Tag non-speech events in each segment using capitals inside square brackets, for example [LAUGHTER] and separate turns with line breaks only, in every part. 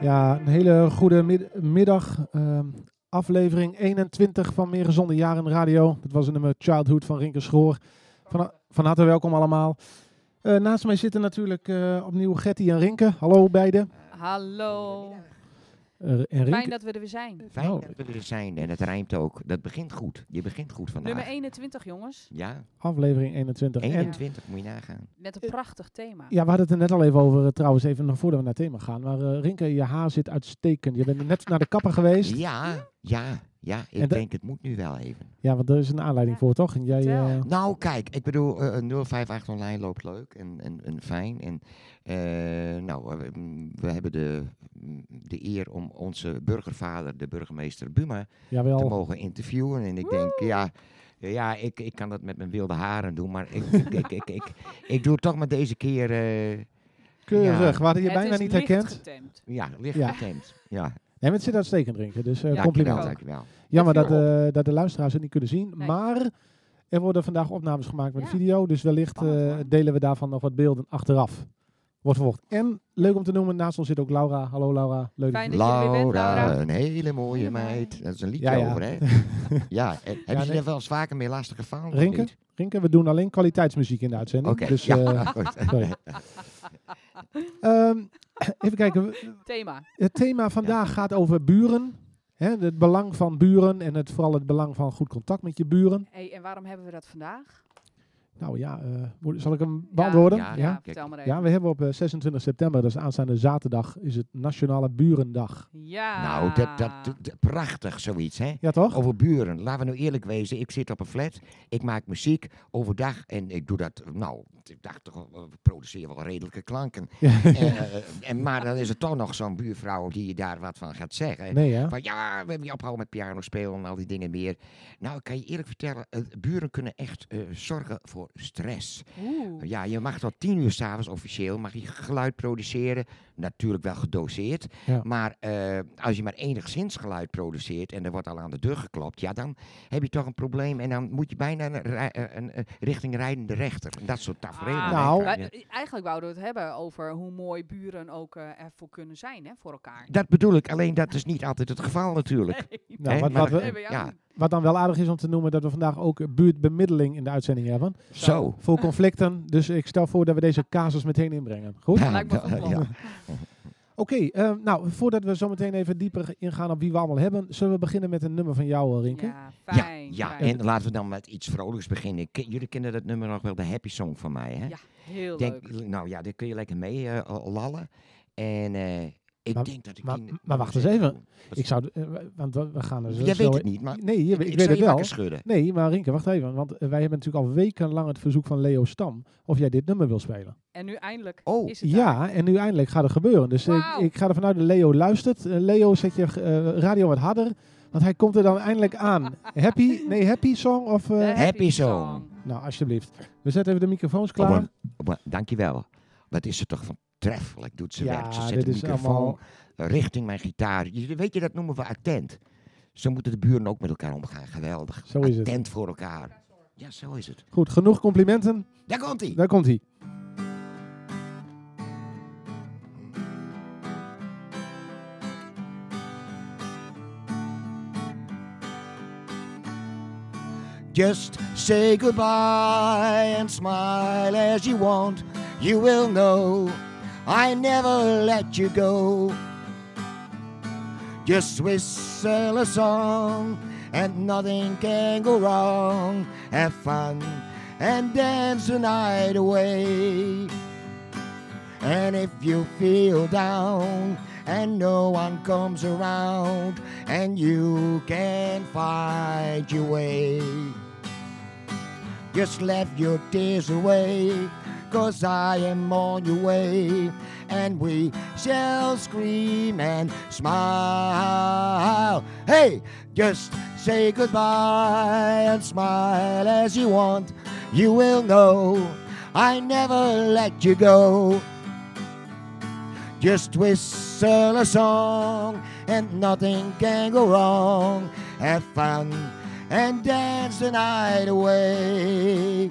Ja, een hele goede mid- middag. Ehm, aflevering 21 van Meer Gezonde Jaren Radio. Dat was een nummer Childhood van Rinke Schoor. Van, van harte welkom allemaal. Eh, naast mij zitten natuurlijk eh, opnieuw Getty en Rinke. Hallo beiden.
Hallo.
Eh, en Rinke,
Fijn dat we er weer zijn.
Fijn
Oh.
dat we er zijn en het rijmt ook. Dat begint goed. Je begint goed vandaag.
Nummer 21, jongens.
Ja,
aflevering 21. En
21 moet je nagaan.
Met een prachtig thema.
ja, we hadden het er net al even over, eh, trouwens even nog voordat we naar het thema gaan. Maar eh, Rinke, je haar zit uitstekend. Je bent net naar de kapper geweest.
Ja, ja, ja.
En
Ik
da-
denk het moet nu wel even.
Ja, want er is een aanleiding
Ja.
voor, toch? En jij,
Vertel.
eh,
Nou, kijk, ik bedoel, eh, 058 online loopt leuk en, en, en fijn. En eh, nou, eh, mm, we hebben de, mm, de eer om onze burgervader, de burgemeester Buma, te
jawel.
mogen interviewen. En ik denk, ja, ja ik, ik kan dat met mijn wilde haren doen, maar ik, ik, ik, ik, ik, ik doe het toch maar deze keer. eh,
Keurig.
Ja.
We hadden je
Het
bijna
is
niet
licht
herkend.
getemd.
Ja, licht
Ja.
getemd. Ja,
Nee, maar het zit uitstekend drinken, dus eh,
ja
compliment.
Dankjewel, dankjewel.
Jammer
Dat
dat,
viel
eh, dat de luisteraars het niet kunnen zien,
Nee.
maar er worden vandaag opnames gemaakt met
Ja.
video, dus wellicht
Spannend,
eh,
hoor.
delen we daarvan nog wat beelden achteraf. Wordt vervolgd. En leuk om te noemen, naast ons zit ook Laura. Hallo Laura, leuk.
Fijn
dat
dat je er weer bent,
Laura,
Laura.
een hele mooie
Hele
meid.
meid.
Dat is een liedje
Ja, ja. [LAUGHS]
over, hè? ja, eh, hebben
nee.
jullie er wel eens vaker mee lastig gevallen? of
Rinke?
niet?
je- Rinke, we doen alleen kwaliteitsmuziek in de uitzending.
Oké,
Dus,
ja.
eh,
goed.
[LAUGHS]
[LAUGHS]
sorry. Ehm, even kijken,
Thema.
het thema vandaag gaat over buren. Hè, het belang van buren en het, vooral het belang van goed contact met je buren.
Hey, en waarom hebben we dat vandaag?
Nou ja, eh, moet- zal ik hem beantwoorden?
Ja,
Ja,
Ah, kijk.
vertel maar even.
Ja, we hebben op eh, 26 september, dat is aanstaande zaterdag, is het Nationale Burendag.
Ja.
Nou, dat, dat, dat- prachtig zoiets, hè?
Ja, toch?
Over buren. Laten we nou eerlijk wezen. Ik zit op een flat. Ik maak muziek overdag. En ik doe dat, nou, ik dacht toch, wel, we produceren wel redelijke klanken.
Ja.
Eh, eh, en, maar dan is er toch nog zo'n buurvrouw die je daar wat van gaat zeggen.
Nee, hè?
Van ja, we hebben je opgehouden met piano spelen en al die dingen meer. Nou, ik kan je eerlijk vertellen, eh, buren kunnen echt eh, zorgen voor stress.
Oeh.
Ja, je mag tot tien uur s'avonds officieel mag je geluid produceren. Natuurlijk wel gedoseerd.
Ja.
Maar eh, als je maar enigszins geluid produceert en er wordt al aan de deur geklopt, ja, dan heb je toch een probleem. En dan moet je bijna een, rij- eh, een, eh, richting rijdende rechter. En Dat soort tafereelen.
Ah,
Nou.
Ja.
maar, eh, Eigenlijk wouden we het hebben over hoe mooi buren ook eh, ervoor kunnen zijn hè, voor elkaar.
Dat bedoel ik, alleen dat is niet altijd het geval
[LAUGHS]
natuurlijk.
Nou,
Hè,
wat,
maar
wat,
dat-
Nee,
we,
bij jou
ja.
niet.
wat dan wel aardig is om te noemen, dat we vandaag ook eh, buurtbemiddeling in de uitzending hebben.
Zo.
Voor conflicten, dus ik stel voor dat we deze casus meteen inbrengen. Goed?
Ja,
Lijkt me
dat-
goed plan.
ja.
Oké, eh, nou, voordat we zo meteen even dieper ingaan op wie we allemaal hebben, zullen we beginnen met een nummer van jou, eh, Rinke?
Ja,
Ja,
fijn.
ja,
fijn.
en laten we dan met iets vrolijks beginnen. Ken- jullie kennen dat nummer nog wel, de happy song van mij, hè?
Ja, heel
Denk-
leuk.
Nou ja, daar kun je lekker mee eh, lallen. En eh, ik
Maar-
denk dat ik...
maar-
die-
maar wacht eens even.
Dat-
Ik zou, eh, w- want we we gaan er zo...
Jij
zo-
weet het niet, maar
Nee, je- ik,
ik
weet
zou
het
je
wel.
wakker schudden.
Nee, maar Rinke, wacht even, want eh, wij hebben natuurlijk al wekenlang het verzoek van Leo Stam of jij dit nummer wil spelen.
En nu eindelijk
Oh,
is het daar.
Ja, en nu eindelijk gaat het gebeuren. Dus ik,
Wauw.
ik ga ervan uit dat Leo luistert. Eh, Leo, zet je eh, radio wat harder, want hij komt er dan eindelijk
[LAUGHS]
aan. Happy, nee, happy song of... eh,
De
Happy Song.
nou, alsjeblieft. We zetten even de microfoons
Oh,
klaar.
maar- oh, maar dankjewel. Wat is ze toch voortreffelijk, doet ze
Ja,
werk. Ze zet
dit
de
is
microfoon
allemaal-
richting mijn gitaar. Je- Weet je, dat noemen we attent. Zo moeten de buren ook met elkaar omgaan. Geweldig.
Zo is het.
attent voor elkaar. Ja, zo is het.
Goed, genoeg complimenten.
Daar komt hij.
Daar komt hij.
Just say goodbye and smile as you want. You will know I never let you go. Just whistle a song and nothing can go wrong. Have fun and dance the night away. And if you feel down and no one comes around and you can find your way, just laugh your tears away, cause I am on your way. And we shall scream and smile. Hey, just say goodbye and smile as you want. You will know I never let you go. Just whistle a song and nothing can go wrong. Have fun and dance the night away.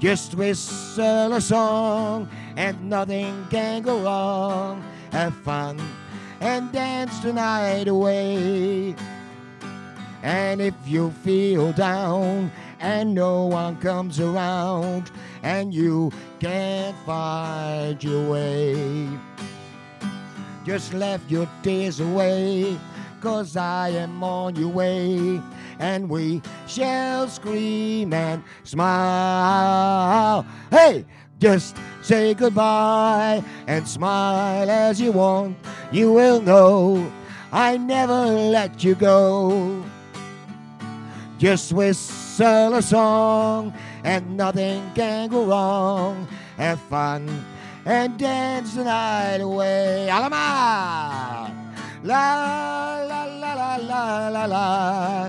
Just whistle a song and nothing can go wrong. Have fun and dance the night away. And if you feel down and no one comes around and you can't find your way just laugh your tears away cause i am on your way and we shall scream and smile hey just say goodbye and smile as you want you will know i never let you go just whistle a song and nothing can go wrong have fun and dance the night away. Allemaal! La la la la la la la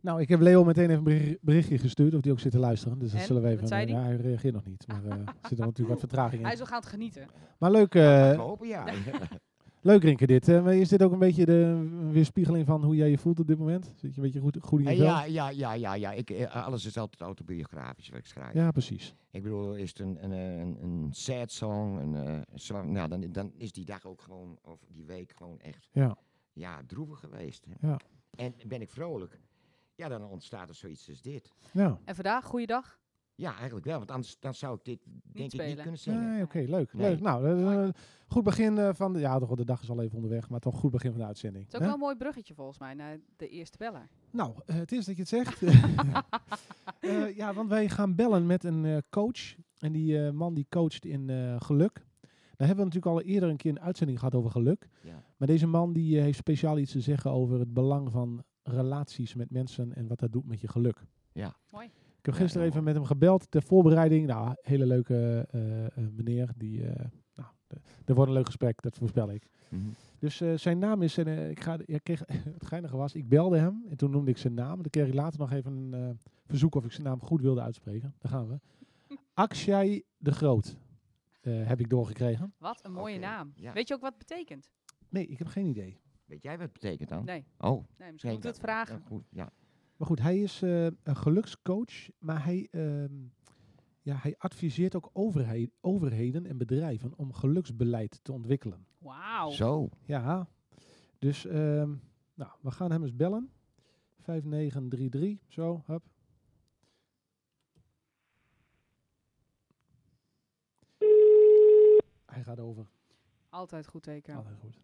Nou, ik heb Leo meteen even een beri- berichtje gestuurd of die ook zit te luisteren. Dus dat
En?
zullen we even.
Wat zei die?
Ja, hij reageert nog niet, maar eh, er zit er natuurlijk wat vertraging
[LAUGHS] Hij
in.
is al gaan genieten.
Maar leuk, eh,
Ik
[LAUGHS]
hoop ja.
leuk Rinke dit. Eh, maar is dit ook een beetje de weerspiegeling van hoe jij je voelt op dit moment? Zit je een beetje goed, goed in
Eh,
jezelf?
Ja, ja, ja, ja, ja. Ik, eh, alles is altijd autobiografisch wat ik schrijf.
Ja, precies.
Ik bedoel, is het een, een, eh, een, een sad song, een, eh, een zwaar- nou, dan, dan is die dag ook gewoon, of die week gewoon echt,
Ja.
ja, droevig geweest. hè.
Ja.
En ben ik vrolijk? Ja, dan ontstaat er zoiets als dit.
Ja,
En vandaag, goeiedag.
Ja, eigenlijk wel, want anders dan zou ik dit denk ik niet
spelen.
kunnen zingen.
Nee, oké, leuk.
Nee.
leuk. Nou, dat is een goed begin eh, van de... Ja, toch wel, de dag is al even onderweg, maar toch een goed begin van de uitzending.
Het is ook
hè?
wel een mooi bruggetje volgens mij naar de eerste beller.
Nou, eh, het is dat je het
[LAUGHS]
zegt. Eh, ja, want wij gaan bellen met een eh, coach. En die eh, man die coacht in eh, geluk. Daar hebben we natuurlijk al eerder een keer een uitzending gehad over geluk.
Ja.
Maar deze man die eh, heeft speciaal iets te zeggen over het belang van relaties met mensen en wat dat doet met je geluk.
Ja.
Mooi.
Ik heb
Ja,
gisteren
heel
even met hem gebeld ter voorbereiding. Nou, hele leuke eh, eh, meneer. Die, eh nou, de- er wordt een leuk gesprek, dat voorspel ik.
Mhm.
Dus eh, zijn naam is, en eh, ik ga, ja, ik kreeg, [LAUGHS] het geinige was, ik belde hem en toen noemde ik zijn naam. Dan kreeg ik later nog even een eh, verzoek of ik zijn naam goed wilde uitspreken. Daar gaan we. Akshay de Groot eh, heb ik doorgekregen.
Wat een mooie
Oké,
naam.
ja.
Weet je ook wat het betekent?
Nee, ik heb geen idee.
Weet jij wat het betekent dan?
Nee,
Oh,
nee misschien
nee,
moet ik
dat-
het vragen.
ja, goed, ja.
Maar goed, hij is eh, een gelukscoach, maar hij, ehm, ja, hij adviseert ook overheid, overheden en bedrijven om geluksbeleid te ontwikkelen.
Wauw.
Zo,
Ja, dus ehm, nou, we gaan hem eens bellen. 5933, zo, hup. Hij gaat over.
Altijd goed teken.
Oh.
Altijd goed.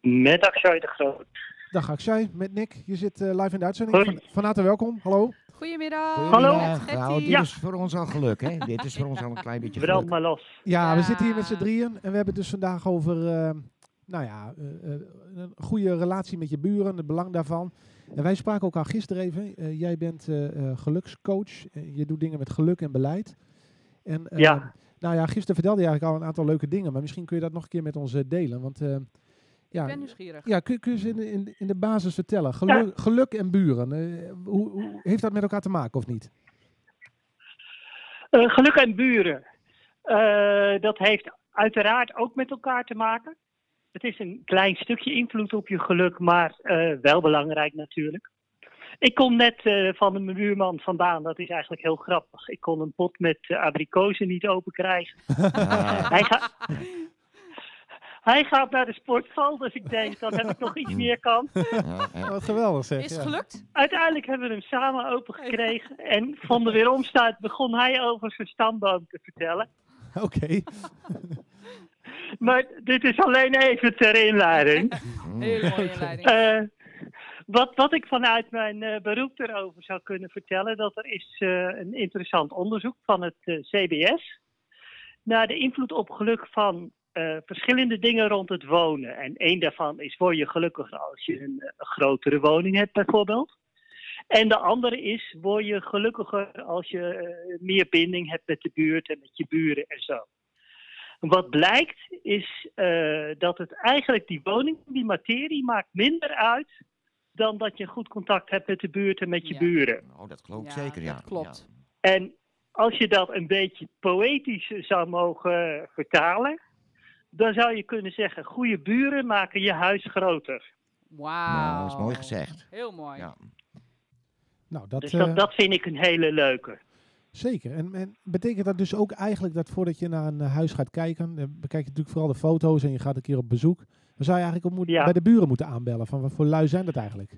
Met Akshay de Groot.
Dag Akshay, met Nick. Je zit eh, live in de uitzending.
Hoi.
Van, van harte welkom, hallo.
Goedemiddag.
Hallo.
Met
Goedemiddag.
Getty.
Nou, dit
Ja.
is voor ons al geluk, hè? dit is voor ons al een klein beetje geluk.
Brand maar los.
Ja, we
Ja.
zitten hier met z'n drieën en we hebben het dus vandaag over eh, nou ja, eh, eh, een goede relatie met je buren, het belang daarvan. En wij spraken elkaar gisteren even. Eh, jij bent eh, eh, gelukscoach. Eh, je doet dingen met geluk en beleid. En, eh,
Ja.
Nou ja, gisteren vertelde je eigenlijk al een aantal leuke dingen, maar misschien kun je dat nog een keer met ons eh, delen. Want eh,
Ik
ja,
ben dus- nieuwsgierig.
ja, kun, kun je eens in, de- in, de- in de basis vertellen. Geluk, geluk en buren, eh, hoe, hoe, heeft dat met elkaar te maken of niet?
Eh, geluk en buren. Eh, dat heeft uiteraard ook met elkaar te maken. Het is een klein stukje invloed op je geluk, maar eh, wel belangrijk natuurlijk. Ik kom net eh, van een buurman vandaan, dat is eigenlijk heel grappig. Ik kon een pot met eh, abrikozen niet open krijgen.
Ah,
Hij, ga- Hij gaat naar de sportval, dus ik
[LAUGHS]
denk, dan heb ik nog iets meer kans.
ja, ja. Mm.
Wat geweldig zeg.
Is
ja.
het gelukt?
Uiteindelijk hebben we hem samen opengekregen. En van de weeromstuit begon hij over zijn stamboom te vertellen.
Oké.
Maar dit is alleen even ter inleiding.
Mm. [LAUGHS]
Hele mooie inleiding.
Eh, wat, wat ik vanuit mijn eh, beroep erover zou kunnen vertellen, dat er is eh, een interessant onderzoek van het eh, CBS naar de invloed op geluk van eh, verschillende dingen rond het wonen. En één daarvan is, word je gelukkiger als je een eh, grotere woning hebt bijvoorbeeld. En de andere is, word je gelukkiger als je eh, meer binding hebt met de buurt en met je buren en zo. Wat blijkt is eh, dat het eigenlijk die woning, die materie, maakt minder uit dan dat je goed contact hebt met de buurt en met je
Ja.
buren.
Oh, dat geloof ik
Ja,
zeker, ja.
dat klopt.
En als je dat een beetje poëtisch zou mogen vertalen, dan zou je kunnen zeggen: goede buren maken je huis groter.
Ja.
Wauw.
Nou, dat is mooi gezegd.
Heel mooi.
Ja.
Nou, dat,
Dus
eh,
dat, dat vind ik een hele leuke.
zeker. En, en betekent dat dus ook eigenlijk dat voordat je naar een eh, huis gaat kijken, dan bekijk je natuurlijk vooral de foto's en je gaat een keer op bezoek, dan zou je eigenlijk ook moeten-
Ja.
bij de buren moeten aanbellen van wat voor lui zijn dat eigenlijk?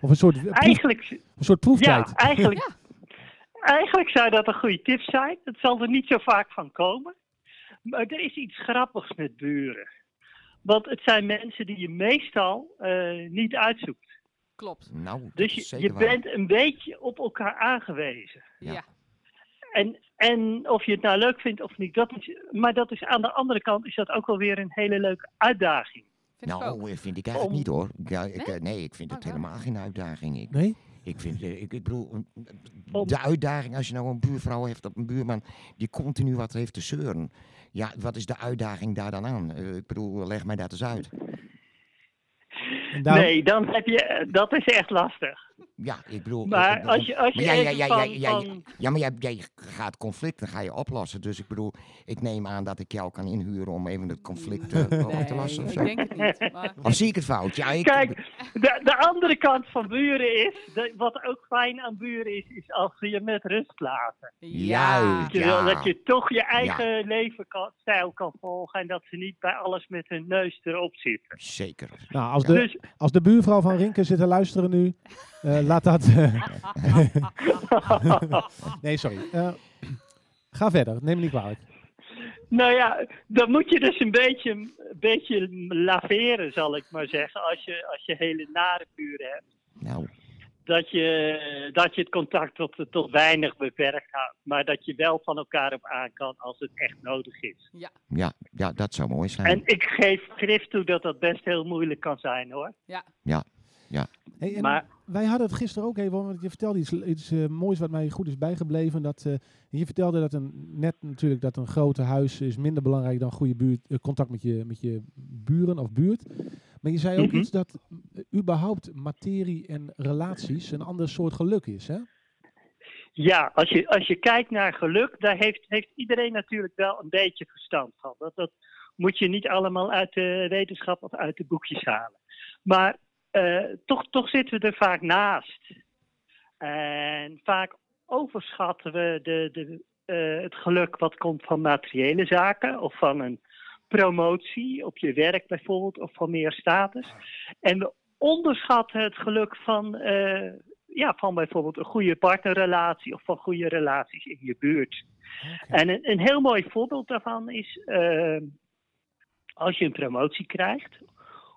Of een soort, eh, proef-
Eigenlijk,
een soort proeftijd.
Ja, eigenlijk, eigenlijk zou dat een goede tip zijn. Het zal er niet zo vaak van komen. Maar er is iets grappigs met buren. Want het zijn mensen die je meestal eh, niet uitzoekt.
Klopt.
Nou, dat
Dus
is
je,
zeker
je
waar.
bent een beetje op elkaar aangewezen.
Ja.
Ja.
En, en of je het nou leuk vindt of niet, dat is, maar dat is aan de andere kant is dat ook wel weer een hele leuke uitdaging.
Vind ik ook.
Nou, eh, vind ik eigenlijk
Om-
niet hoor. Ja, ik,
Nee?
eh, nee, ik vind het
Oh, ja.
helemaal geen uitdaging. Ik,
Nee?
ik, vind, eh, ik, ik bedoel, eh,
Om-
de uitdaging als je nou een buurvrouw heeft of een buurman die continu wat heeft te zeuren. Ja, wat is de uitdaging daar dan aan? Eh, ik bedoel, leg mij dat eens uit.
En
Nou-
daarom-
Nee, dan heb je, dat is echt lastig.
Ja, ik bedoel. eh,
Maar
eh,
als je, als je
Maar jij, jij,
even
jij,
van-
jij, jij-
van-
ja, maar jij, jij gaat conflicten ga je oplossen. Dus ik bedoel, ik neem aan dat ik jou kan inhuren om even het conflict eh, op te lossen. Of,
Nee,
zo.
ik denk het niet.
[LAUGHS]
Maar
of zie ik het fout? Ja, ik,
Kijk, de, de andere kant van buren is, de- wat ook fijn aan buren is, is als ze je met rust laten.
ja.
Juist.
Je wil
Ja.
dat je toch je eigen leven kan, stijl kan volgen en dat ze niet bij alles met hun neus erop zitten.
Zeker.
Nou, als de,
Dus
als de buurvrouw van Rinken zit te luisteren nu, eh, laat dat... eh,
[LAUGHS]
[LAUGHS] nee, sorry. Eh, [CLEARS THROAT] ga verder, neem me niet kwalijk.
nou ja, dan moet je dus een beetje, een beetje laveren, zal ik maar zeggen, als je, als je hele nare buren hebt.
Nou,
dat je, dat je het contact tot, tot weinig beperkt houdt. Maar dat je wel van elkaar op aan kan als het echt nodig is.
ja, ja, dat zou mooi zijn.
En ik geef grif toe dat dat best heel moeilijk kan zijn hoor.
Hey, en
Maar-
Wij hadden het gisteren ook even, over, want je vertelde iets, iets eh, moois wat mij goed is bijgebleven. Dat, eh, je vertelde dat een, net natuurlijk dat een grote huis is minder belangrijk dan goede buurt, eh, contact met je, met je buren of buurt. Maar je zei ook
Mhm.
iets dat eh, überhaupt materie en relaties een ander soort geluk is, hè?
Ja, als je, als je kijkt naar geluk, daar heeft, heeft iedereen natuurlijk wel een beetje verstand van. Dat, dat moet je niet allemaal uit de wetenschap of uit de boekjes halen. Maar eh, toch, toch zitten we er vaak naast. En vaak overschatten we de, de, eh, het geluk wat komt van materiële zaken of van een promotie op je werk bijvoorbeeld of van meer status. En we onderschatten het geluk van eh, ja, van bijvoorbeeld een goede partnerrelatie of van goede relaties in je buurt. En een, een heel mooi voorbeeld daarvan is eh, als je een promotie krijgt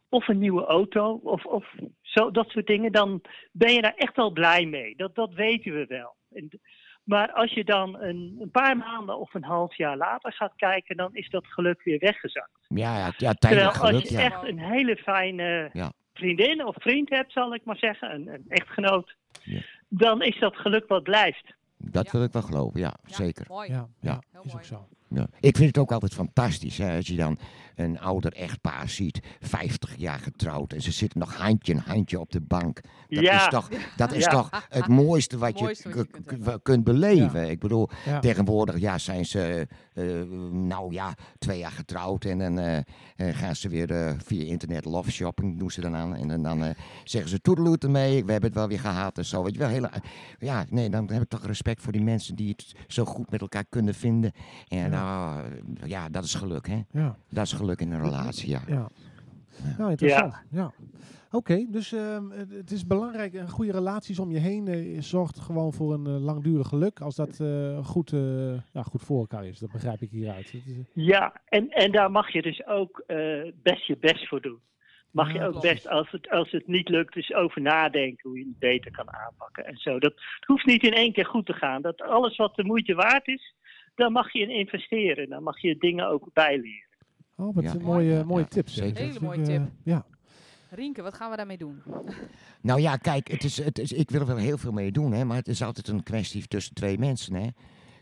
of een nieuwe auto of, of zo, dat soort dingen, dan ben je daar echt wel blij mee. Dat, dat weten we wel. En, d- maar als je dan een, een paar maanden of een half jaar later gaat kijken, dan is dat geluk weer weggezakt.
ja, ja, ja,
Terwijl
tijdelijk
als
geluk,
je
ja.
echt een hele fijne
Ja.
vriendin of vriend hebt, zal ik maar zeggen, een, een echtgenoot,
Ja.
dan is dat geluk wat blijft.
Dat
Ja.
wil ik wel geloven, ja,
Ja,
zeker.
Mooi.
Ja,
Ja.
Heel
is ook
mooi.
zo.
Ja. Ik vind het ook altijd fantastisch hè, als je dan een ouder echtpaar ziet, 50 jaar getrouwd en ze zitten nog handje in handje op de bank. Dat
Ja.
is toch, dat is
Ja.
toch het mooiste wat
Het mooiste
je,
wat je
k-
kunt
k-
hebben.
kunt beleven. Ik bedoel,
Ja.
tegenwoordig ja, zijn ze eh, nou ja, twee jaar getrouwd en dan eh, eh, gaan ze weer eh, via internet love shopping doen ze dan aan. En dan, dan eh, zeggen ze toedeloe ermee, we hebben het wel weer gehad en zo. Weet je wel, hele, ja, nee, dan heb ik toch respect voor die mensen die het zo goed met elkaar kunnen vinden. En ja, ja dat is geluk, hè?
Ja,
Dat is geluk in een relatie, ja.
ja. Nou, interessant. Ja. Oké, dus ehm, het- het is belangrijk, eh, goede relaties om je heen eh, zorgt gewoon voor een eh, langdurig geluk. Als dat eh, goed, eh, ja, goed voor elkaar is, dat begrijp ik hieruit. Het is, eh,
Ja, en, en daar mag je dus ook eh, best je best voor doen. Mag
Ja,
je ook
klopt.
best, als het, als het niet lukt, dus over nadenken hoe je het beter kan aanpakken en zo. Dat het hoeft niet in één keer goed te gaan. Dat alles wat de moeite waard is, daar mag je in investeren. Dan mag je dingen ook bijleren.
Albert,
Ja.
Oh, een mooie,
Ja, ja,
mooie
ja,
tip. zeg.
zeker.
Dat
Hele
vind
mooie
ik, eh,
tip.
ja.
Rienke, wat gaan we daarmee doen?
Nou ja, kijk, het is, het is, ik wil er wel heel veel mee doen, hè, maar het is altijd een kwestie tussen twee mensen. Hè.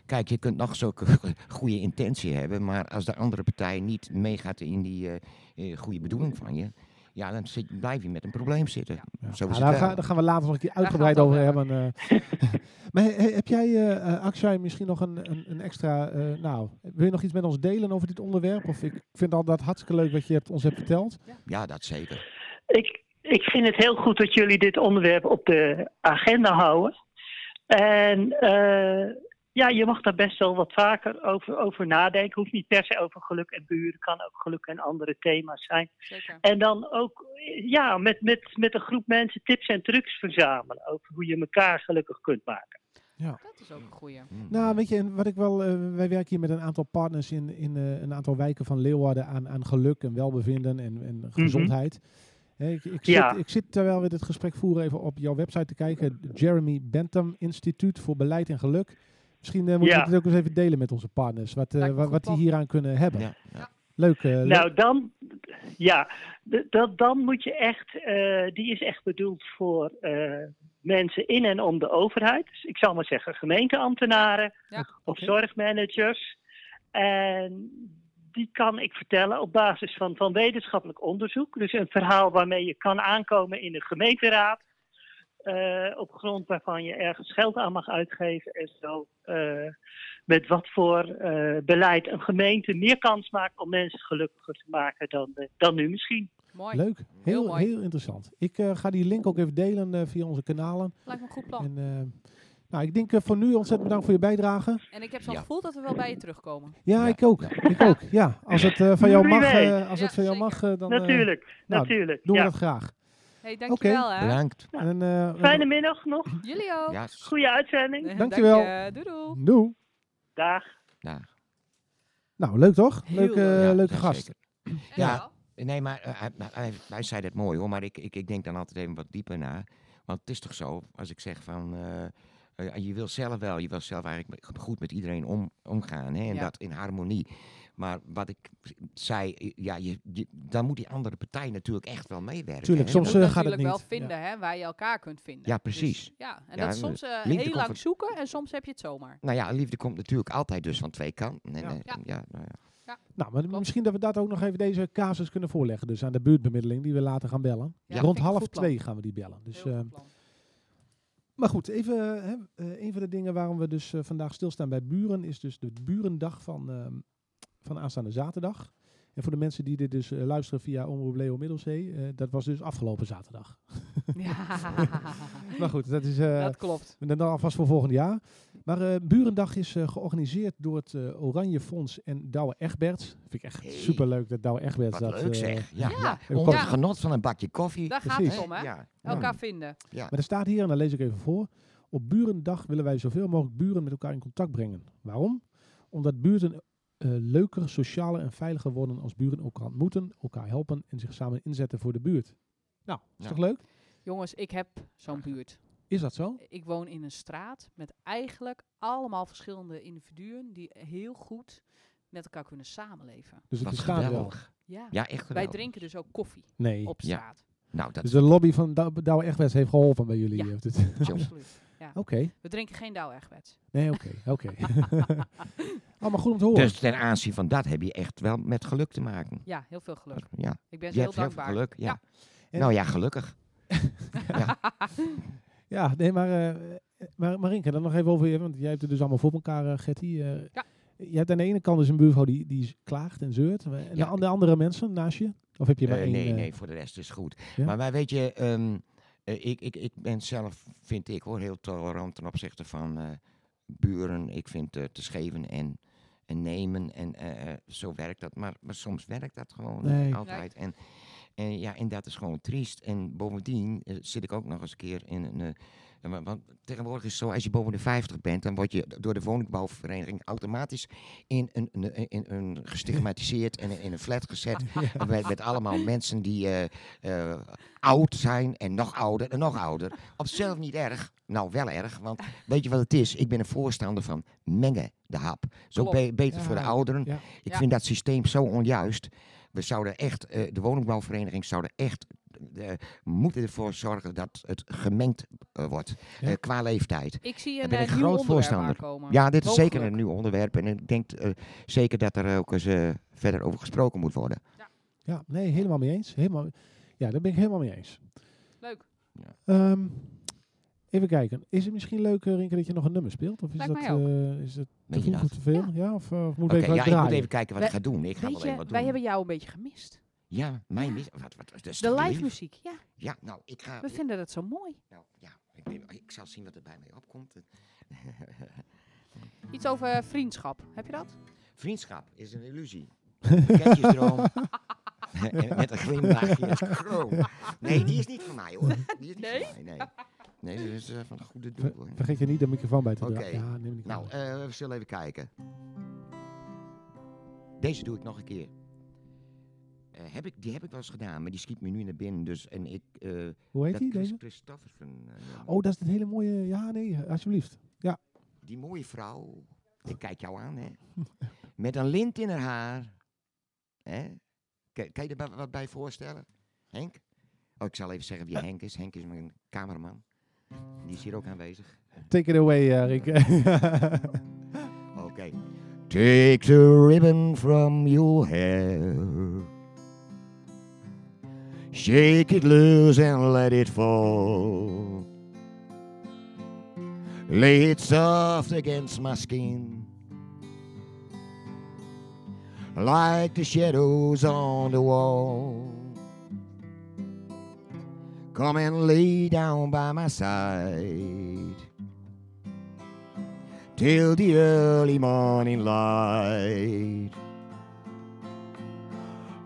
Kijk, je kunt nog zulke [LAUGHS] goede intentie hebben, maar als de andere partij niet meegaat in die eh, eh, goede bedoeling van je, ja, dan zit, blijf je met een probleem zitten.
Ja.
Zo
Ah,
is het
daar,
wel.
ga- daar gaan we later nog een keer
Daar gaan we
uitgebreid
het
over
over
hebben. eh. [LAUGHS] maar he- heb jij, eh, eh, Akshay, misschien nog een, een, een extra... eh, nou, wil je nog iets met ons delen over dit onderwerp? Of ik vind al dat hartstikke leuk wat je hebt, ons hebt verteld.
Ja, dat zeker.
Ik, ik vind het heel goed dat jullie dit onderwerp op de agenda houden. En eh, ja, je mag daar best wel wat vaker over, over nadenken. Hoeft niet per se over geluk en buren, kan ook geluk en andere thema's zijn.
Zeker.
En dan ook eh, ja, met, met, met een groep mensen tips en trucs verzamelen over hoe je elkaar gelukkig kunt maken.
Dat is ook een goeie.
Hm.
Nou, weet je, en wat ik wel, eh, wij werken hier met een aantal partners in, in eh, een aantal wijken van Leeuwarden aan, aan geluk en welbevinden en, en gezondheid. Hè, ik, ik, zit,
Mhm. Ja.
ik zit terwijl we dit gesprek voeren even op jouw website te kijken. Jeremy Bentham Instituut voor Beleid en Geluk. Misschien eh, moeten
Ja.
we dit ook eens even delen met onze partners, wat, eh,
Lijkt me
wa-
een
wat
goed
die
plan.
hieraan kunnen hebben.
Ja, ja.
Leuk, eh, leuk.
Nou, dan, ja, d- dat, dan moet je echt, eh, die is echt bedoeld voor eh, mensen in en om de overheid. Dus ik zal maar zeggen gemeenteambtenaren
Ja.
of
Oké.
zorgmanagers. En die kan ik vertellen op basis van, van wetenschappelijk onderzoek. Dus een verhaal waarmee je kan aankomen in de gemeenteraad. eh, op grond waarvan je ergens geld aan mag uitgeven en zo. eh, met wat voor eh, beleid een gemeente meer kans maakt om mensen gelukkiger te maken dan, eh, dan nu misschien.
Mooi.
Leuk, heel,
Heel
heel,
mooi.
interessant. Ik eh, ga die link ook even delen eh, via onze kanalen.
Lijkt me een goed plan.
En, eh, nou, ik denk eh, voor nu ontzettend bedankt voor je bijdrage.
En ik heb zo'n
Ja.
gevoel dat we wel bij je terugkomen.
Ja,
Ja.
ik ook. Ik ook. Ja, als het eh, van jou
Wie
mag,
weet.
eh, als
Ja,
het van jou
zeker.
mag, eh, dan eh,
natuurlijk,
nou,
natuurlijk.
doen we
ja.
dat graag.
hey, dankjewel hè.
Bedankt.
En, eh,
Fijne middag nog.
Jullie ook.
Ja,
Goede uitzending.
Dankjewel.
Dank je. Doei doei.
doe.
Dag.
ja,
Nou, leuk toch?
Heel
Leuke,
leuk.
eh,
ja,
leuke
dat
gast.
zeker.
En
Ja.
jou?
Nee, maar eh, hij, hij- hij- hij zei dat mooi hoor, maar ik, ik, ik denk dan altijd even wat dieper na. Want het is toch zo, als ik zeg van, eh, eh, je wil zelf wel, je wil zelf eigenlijk met- goed met iedereen om, omgaan hè, en
Ja.
dat in harmonie. Maar wat ik zei, eh, ja, je, je- dan moet die andere partij natuurlijk echt wel meewerken.
Tuurlijk,
hè.
Je
soms,
moet
eh, gaat het
natuurlijk wel
niet.
vinden hè, waar je elkaar kunt vinden.
Ja,
Dus,
precies.
ja, en
Ja,
dat is soms eh,
liefde
heel
komt
lang
van-
zoeken en soms heb je het zomaar.
Nou ja, liefde komt natuurlijk altijd dus van twee kanten. En,
Ja.
eh,
Ja.
ja, nou ja.
Nou, maar misschien dat we dat ook nog even deze casus kunnen voorleggen. Dus aan de buurtbemiddeling die we later gaan bellen. Dus
Ja, vind
Rond
ik een
half
goed plan.
twee gaan we die bellen. Dus,
Heel
eh,
goed plan.
maar goed, even eh, hè, eh, een van de dingen waarom we dus eh, vandaag stilstaan bij buren is dus de burendag van, ehm, van aanstaande zaterdag. En voor de mensen die dit dus eh, luisteren via Omroep Leo Middelzee, eh, dat was dus afgelopen zaterdag.
ja,
Maar goed, dat is, eh,
dat klopt.
En dan alvast voor volgend jaar. Maar eh, Burendag is eh, georganiseerd door het eh, Oranje Fonds en Douwe Egberts. Vind ik echt
Hey.
superleuk dat Douwe Egberts
Wat
dat...
leuk
eh,
zeg. Ja,
Ja.
ja.
Ja.
Onder
Ja.
het genot van een bakje koffie.
Daar gaat
Precies.
het om, hè?
Ja.
Elkaar vinden.
Maar er staat hier, en dat lees ik even voor. Op Burendag willen wij zoveel mogelijk buren met elkaar in contact brengen. Waarom? Omdat buurten eh, leuker, socialer en veiliger worden als buren elkaar ontmoeten, elkaar helpen en zich samen inzetten voor de buurt. Nou, is
Ja.
toch leuk?
Jongens, ik heb zo'n buurt.
Is dat zo?
Ik woon in een straat met eigenlijk allemaal verschillende individuen die heel goed met elkaar kunnen samenleven.
Dus het
Wat
bestaat wel.
geweldig.
Ja.
Ja, echt
Wij
geweldig.
drinken dus ook koffie
Nee.
op
Ja.
straat.
Nou, dat
Dus de lobby van Dou- Douwe Egberts heeft geholpen bij jullie. eh,
Ja.
heeft het-
[LAUGHS]
Oké.
Absoluut. Ja. We drinken geen douwe Egberts.
Nee, oké,
[LAUGHS]
oké. [LAUGHS] Allemaal goed om te horen.
Dus ten aanzien van dat heb je echt wel met geluk te maken.
Ja, heel veel geluk.
Ja,
Ik ben
je
ze heel
hebt heel veel
dankbaar.
geluk. Ja.
En-
Nou ja, gelukkig.
Ja, nee, maar, eh, maar Marinke, dan nog even over je, want jij hebt het dus allemaal voor elkaar, eh, Gertie. eh.
Ja.
Je hebt aan de ene kant dus een buurvrouw die, die klaagt en zeurt. maar- En
Ja.
aan de andere mensen naast je? Of heb je maar
Eh,
één?
nee,
eh,
nee, voor de rest is goed.
Ja?
Maar, maar weet je, ehm, eh, ik, ik, ik ben zelf, vind ik hoor, heel tolerant ten opzichte van eh, buren. Ik vind eh, te scheven en, en nemen en eh, eh, zo werkt dat. Maar, maar soms werkt dat gewoon niet
Nee.
altijd. En, En ja, en dat is gewoon triest. En bovendien eh, zit ik ook nog eens een keer in een. eh, eh, wa- want tegenwoordig is het zo, als je boven de 50 bent, dan word je d- door de woningbouwvereniging automatisch in een, een, een- in een gestigmatiseerd en in een flat gezet. Met, met allemaal mensen die eh, eh, oud zijn en nog ouder en nog ouder. Op zichzelf niet erg. Nou, wel erg. Want
[LAUGHS]
weet je wat het is? Ik ben een voorstander van mengen de hap. Zo
Klopt.
be- beter voor de
Ja,
ouderen.
ja.
Ik
Ja.
vind dat systeem zo onjuist. We zouden echt, eh, de woningbouwvereniging zouden echt eh, moeten ervoor zorgen dat het gemengd eh, wordt
Ja.
eh, qua leeftijd.
Ik zie
Daar
een
ben
eh,
ik
nieuw
groot
onderwerp
voorstander.
aankomen.
Ja, dit is zeker
Mogelijk.
een nieuw onderwerp en ik denk eh, zeker dat er ook eens eh, verder over gesproken moet worden.
Ja, nee, helemaal mee eens. Helemaal, ja, daar ben ik helemaal mee eens.
Leuk.
Ehm, even kijken. Is het misschien leuk, eh, Rinke, dat je nog een nummer speelt? Of is
Lijkt
dat,
mij ook.
eh, is dat te
Weet je
vroeg of
dat?
te veel? Ja,
Ja.
of, eh, of moet
Oké,
ik even
ja, ik
draaien?
moet even kijken wat ik
Wij-
ga doen. Ik ga
Weet
wel even
je,
wat doen.
wij hebben jou een beetje gemist.
Ja, mij mis. Wat, wat, dat is
De
toch
live
lief?
muziek, ja.
Ja, nou, ik ga.
We vinden dat zo mooi.
nou, ja, ik, ben- ik zal zien wat er bij mij opkomt.
Iets over vriendschap, heb je dat?
Vriendschap is een illusie. Ketjesdroom. [LAUGHS] En Met een
[LAUGHS]
glimlachje. Het is kroon. Nee, die is niet van mij hoor. Die is niet
Nee?
van mij, nee. Nee, dat is eh, van een goede doel hoor.
Vergeet je niet de microfoon bij te
Oké.
draaien. Ja, neem ik
Nou, eh, we zullen even kijken. Deze doe ik nog een keer. Eh, heb ik, die heb ik wel eens gedaan, maar die schiet me nu naar binnen. Dus, en ik, eh,
Hoe heet
dat
die,
Chris
deze?
Christoffersen, eh, nummer.
Oh, dat is het hele mooie... Ja, nee, alsjeblieft.
Die mooie vrouw. Ik kijk jou aan, hè. [LAUGHS] Met een lint in haar haar. Hè? Kan, kan je er ba- wat bij voorstellen? Henk? Oh, ik zal even zeggen wie Henk is. Henk is mijn cameraman. Die is hier ook aanwezig.
Take it away, eh, Rinke.
Oké. Take the ribbon from your hair. Shake it loose and let it fall. Lay it soft against my skin. Like the shadows on the wall. Come and lay down by my side till the early morning light.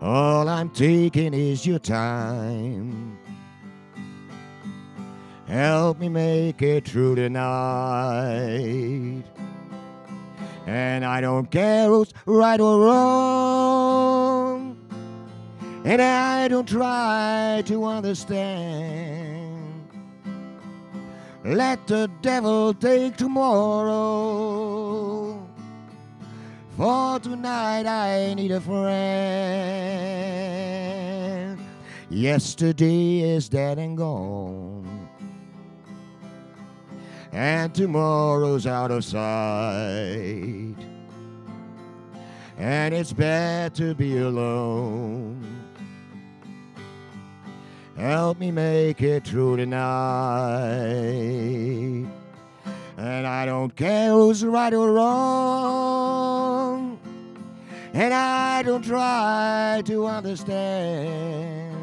All I'm taking is your time. Help me make it through the night. And I don't care who's right or wrong. And I don't try to understand. Let the devil take tomorrow. For tonight I need a friend. Yesterday is dead and gone. And tomorrow's out of sight. And it's bad to be alone. Help me make it through the night. And I don't care who's right or wrong. And I don't try to understand.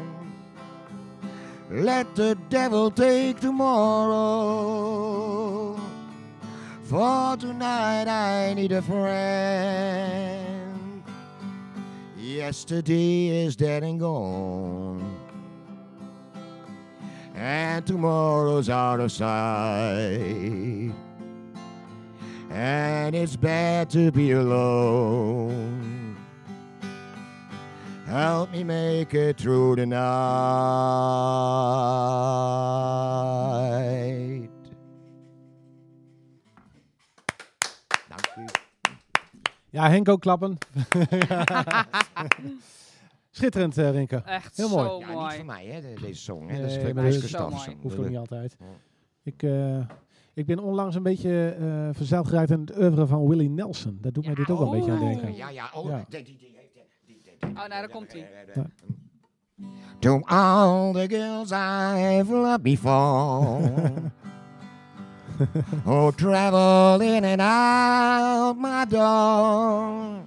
Let the devil take tomorrow. For tonight I need a friend. Yesterday is dead and gone and tomorrow's out of sight. And it's bad to be alone. Help me make it through the night. Dank u.
[LAUGHS] ja, Henk ook
[LAUGHS]
klappen. Schitterend, eh, Rinke.
Echt
Heel mooi.
zo
Ja, er niet
mooi.
van mij, hè, de- deze song. Hè? dat
Nee,
is van
maar
Chris
dat is
zo
Christofferson.
mooi.
Hoeft ook niet altijd.
Ja.
Ik, eh, ik ben onlangs een beetje eh verzeild geraakt in het oeuvre van Willie Nelson. Daar doet mij dit ook wel een beetje aan
oeh.
denken.
Ja, ja. Oh,
Ja.
Die, die, die, heeft- die, die, die-
nou, daar komt-ie.
Ja.
To all the girls I've loved before. who travel in and out my door.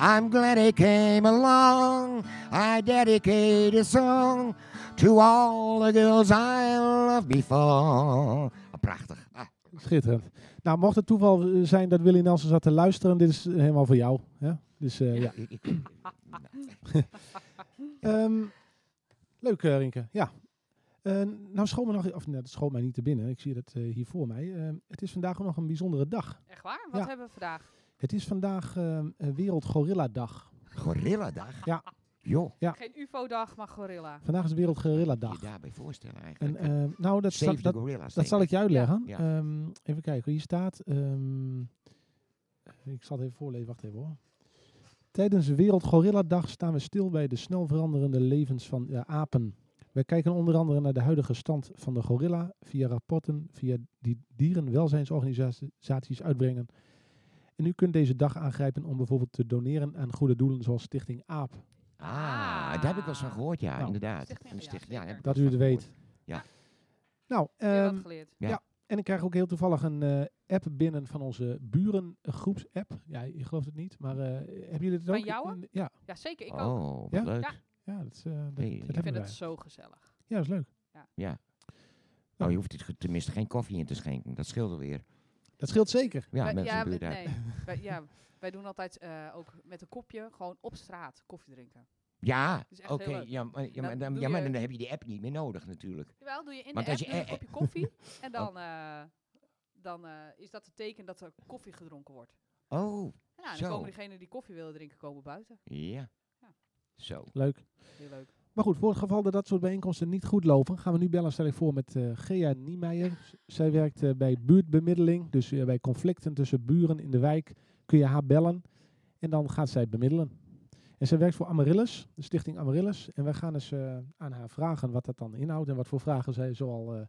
I'm glad he came along. I dedicate a song to all the girls I loved before. Prachtig. Ah,
Schitterend. Nou, mocht het toeval eh, zijn dat Willy Nelson zat te luisteren, dit is eh, helemaal voor jou. Hè? Dus eh, ja.
ik- ik-
Ehm, Leuk, eh, Rinke. Ja. Eh, nou, school me nog, of nee, dat school mij niet te binnen. Ik zie dat eh, hier voor mij. Eh, het is vandaag ook nog een bijzondere dag.
Echt waar? Wat
Ja.
hebben we vandaag?
Het is vandaag eh, eh, Wereld Gorilla Dag.
Gorilladag?
Ja.
Joh,
Geen UFO-dag, maar gorilla.
Vandaag is Wereld Gorilla
moet je
Dag.
daarbij voorstellen
En
eigenlijk.
eh, nou, dat,
Save
zal,
the
dat,
gorillas.
dat zal ik je uitleggen.
Ja.
Ehm, even kijken, hier staat. ehm, ik zal het even voorlezen, wacht even hoor. Tijdens Wereld Gorilla Dag staan we stil bij de snel veranderende levens van de apen. We kijken onder andere naar de huidige stand van de gorilla via rapporten via die dierenwelzijnsorganisaties uitbrengen. En u kunt deze dag aangrijpen om bijvoorbeeld te doneren aan goede doelen zoals Stichting AAP.
Ah, daar heb ik wel eens van gehoord, ja,
Nou.
inderdaad.
Stichting,
Een
ja,
stichting, ja, daar heb
zeker.
ik
Dat u
wel
het
eens van
weet.
gehoord.
Nou,
Weer
ehm,
wat geleerd.
En ik krijg ook heel toevallig een eh, app binnen van onze burengroepsapp. Ja, je gelooft het niet, maar eh, hebben jullie het
Van
ook?
jouwe?
in- ja,
Ja, zeker. Ik ook.
Oh, wat
Ja?
leuk.
Ja.
ja, dat, is, eh, dat,
Hey,
dat
ik
Ik
hebben
vind
wij.
het zo gezellig.
Ja, dat is leuk.
Nou, je hoeft het ge- tenminste geen koffie in te schenken. Dat scheelt alweer.
Dat scheelt zeker.
Ja,
Wij-
mensen
ja,
in
we-
de buurt uit. [LAUGHS]
nee. Wij- ja, wij doen altijd eh, ook met een kopje gewoon op straat koffie drinken.
Ja,
is echt
oké.
heel leuk.
ja, maar, ja,
Dan
maar, dan,
doe
ja, maar
je-
dan heb je die app niet meer nodig natuurlijk.
Jawel, doe je in
Want
de
als
app
je Oh.
doe je
e-
een kopje koffie
[LAUGHS]
en dan, eh, dan eh, is dat het teken dat er koffie gedronken wordt.
Oh,
Nou, en
Zo.
dan komen diegenen die koffie willen drinken, komen buiten.
ja.
Ja.
Zo.
Leuk.
Heel leuk.
Maar goed, voor het geval dat dat soort bijeenkomsten niet goed lopen, gaan we nu bellen, stel ik voor, met eh, Gea Niemeyer. Z- Zij werkt eh, bij buurtbemiddeling, dus eh, bij conflicten tussen buren in de wijk kun je haar bellen en dan gaat zij bemiddelen. En zij werkt voor Amaryllis, de stichting Amaryllis. En wij gaan eens eh, aan haar vragen wat dat dan inhoudt en wat voor vragen zij zoal... eh,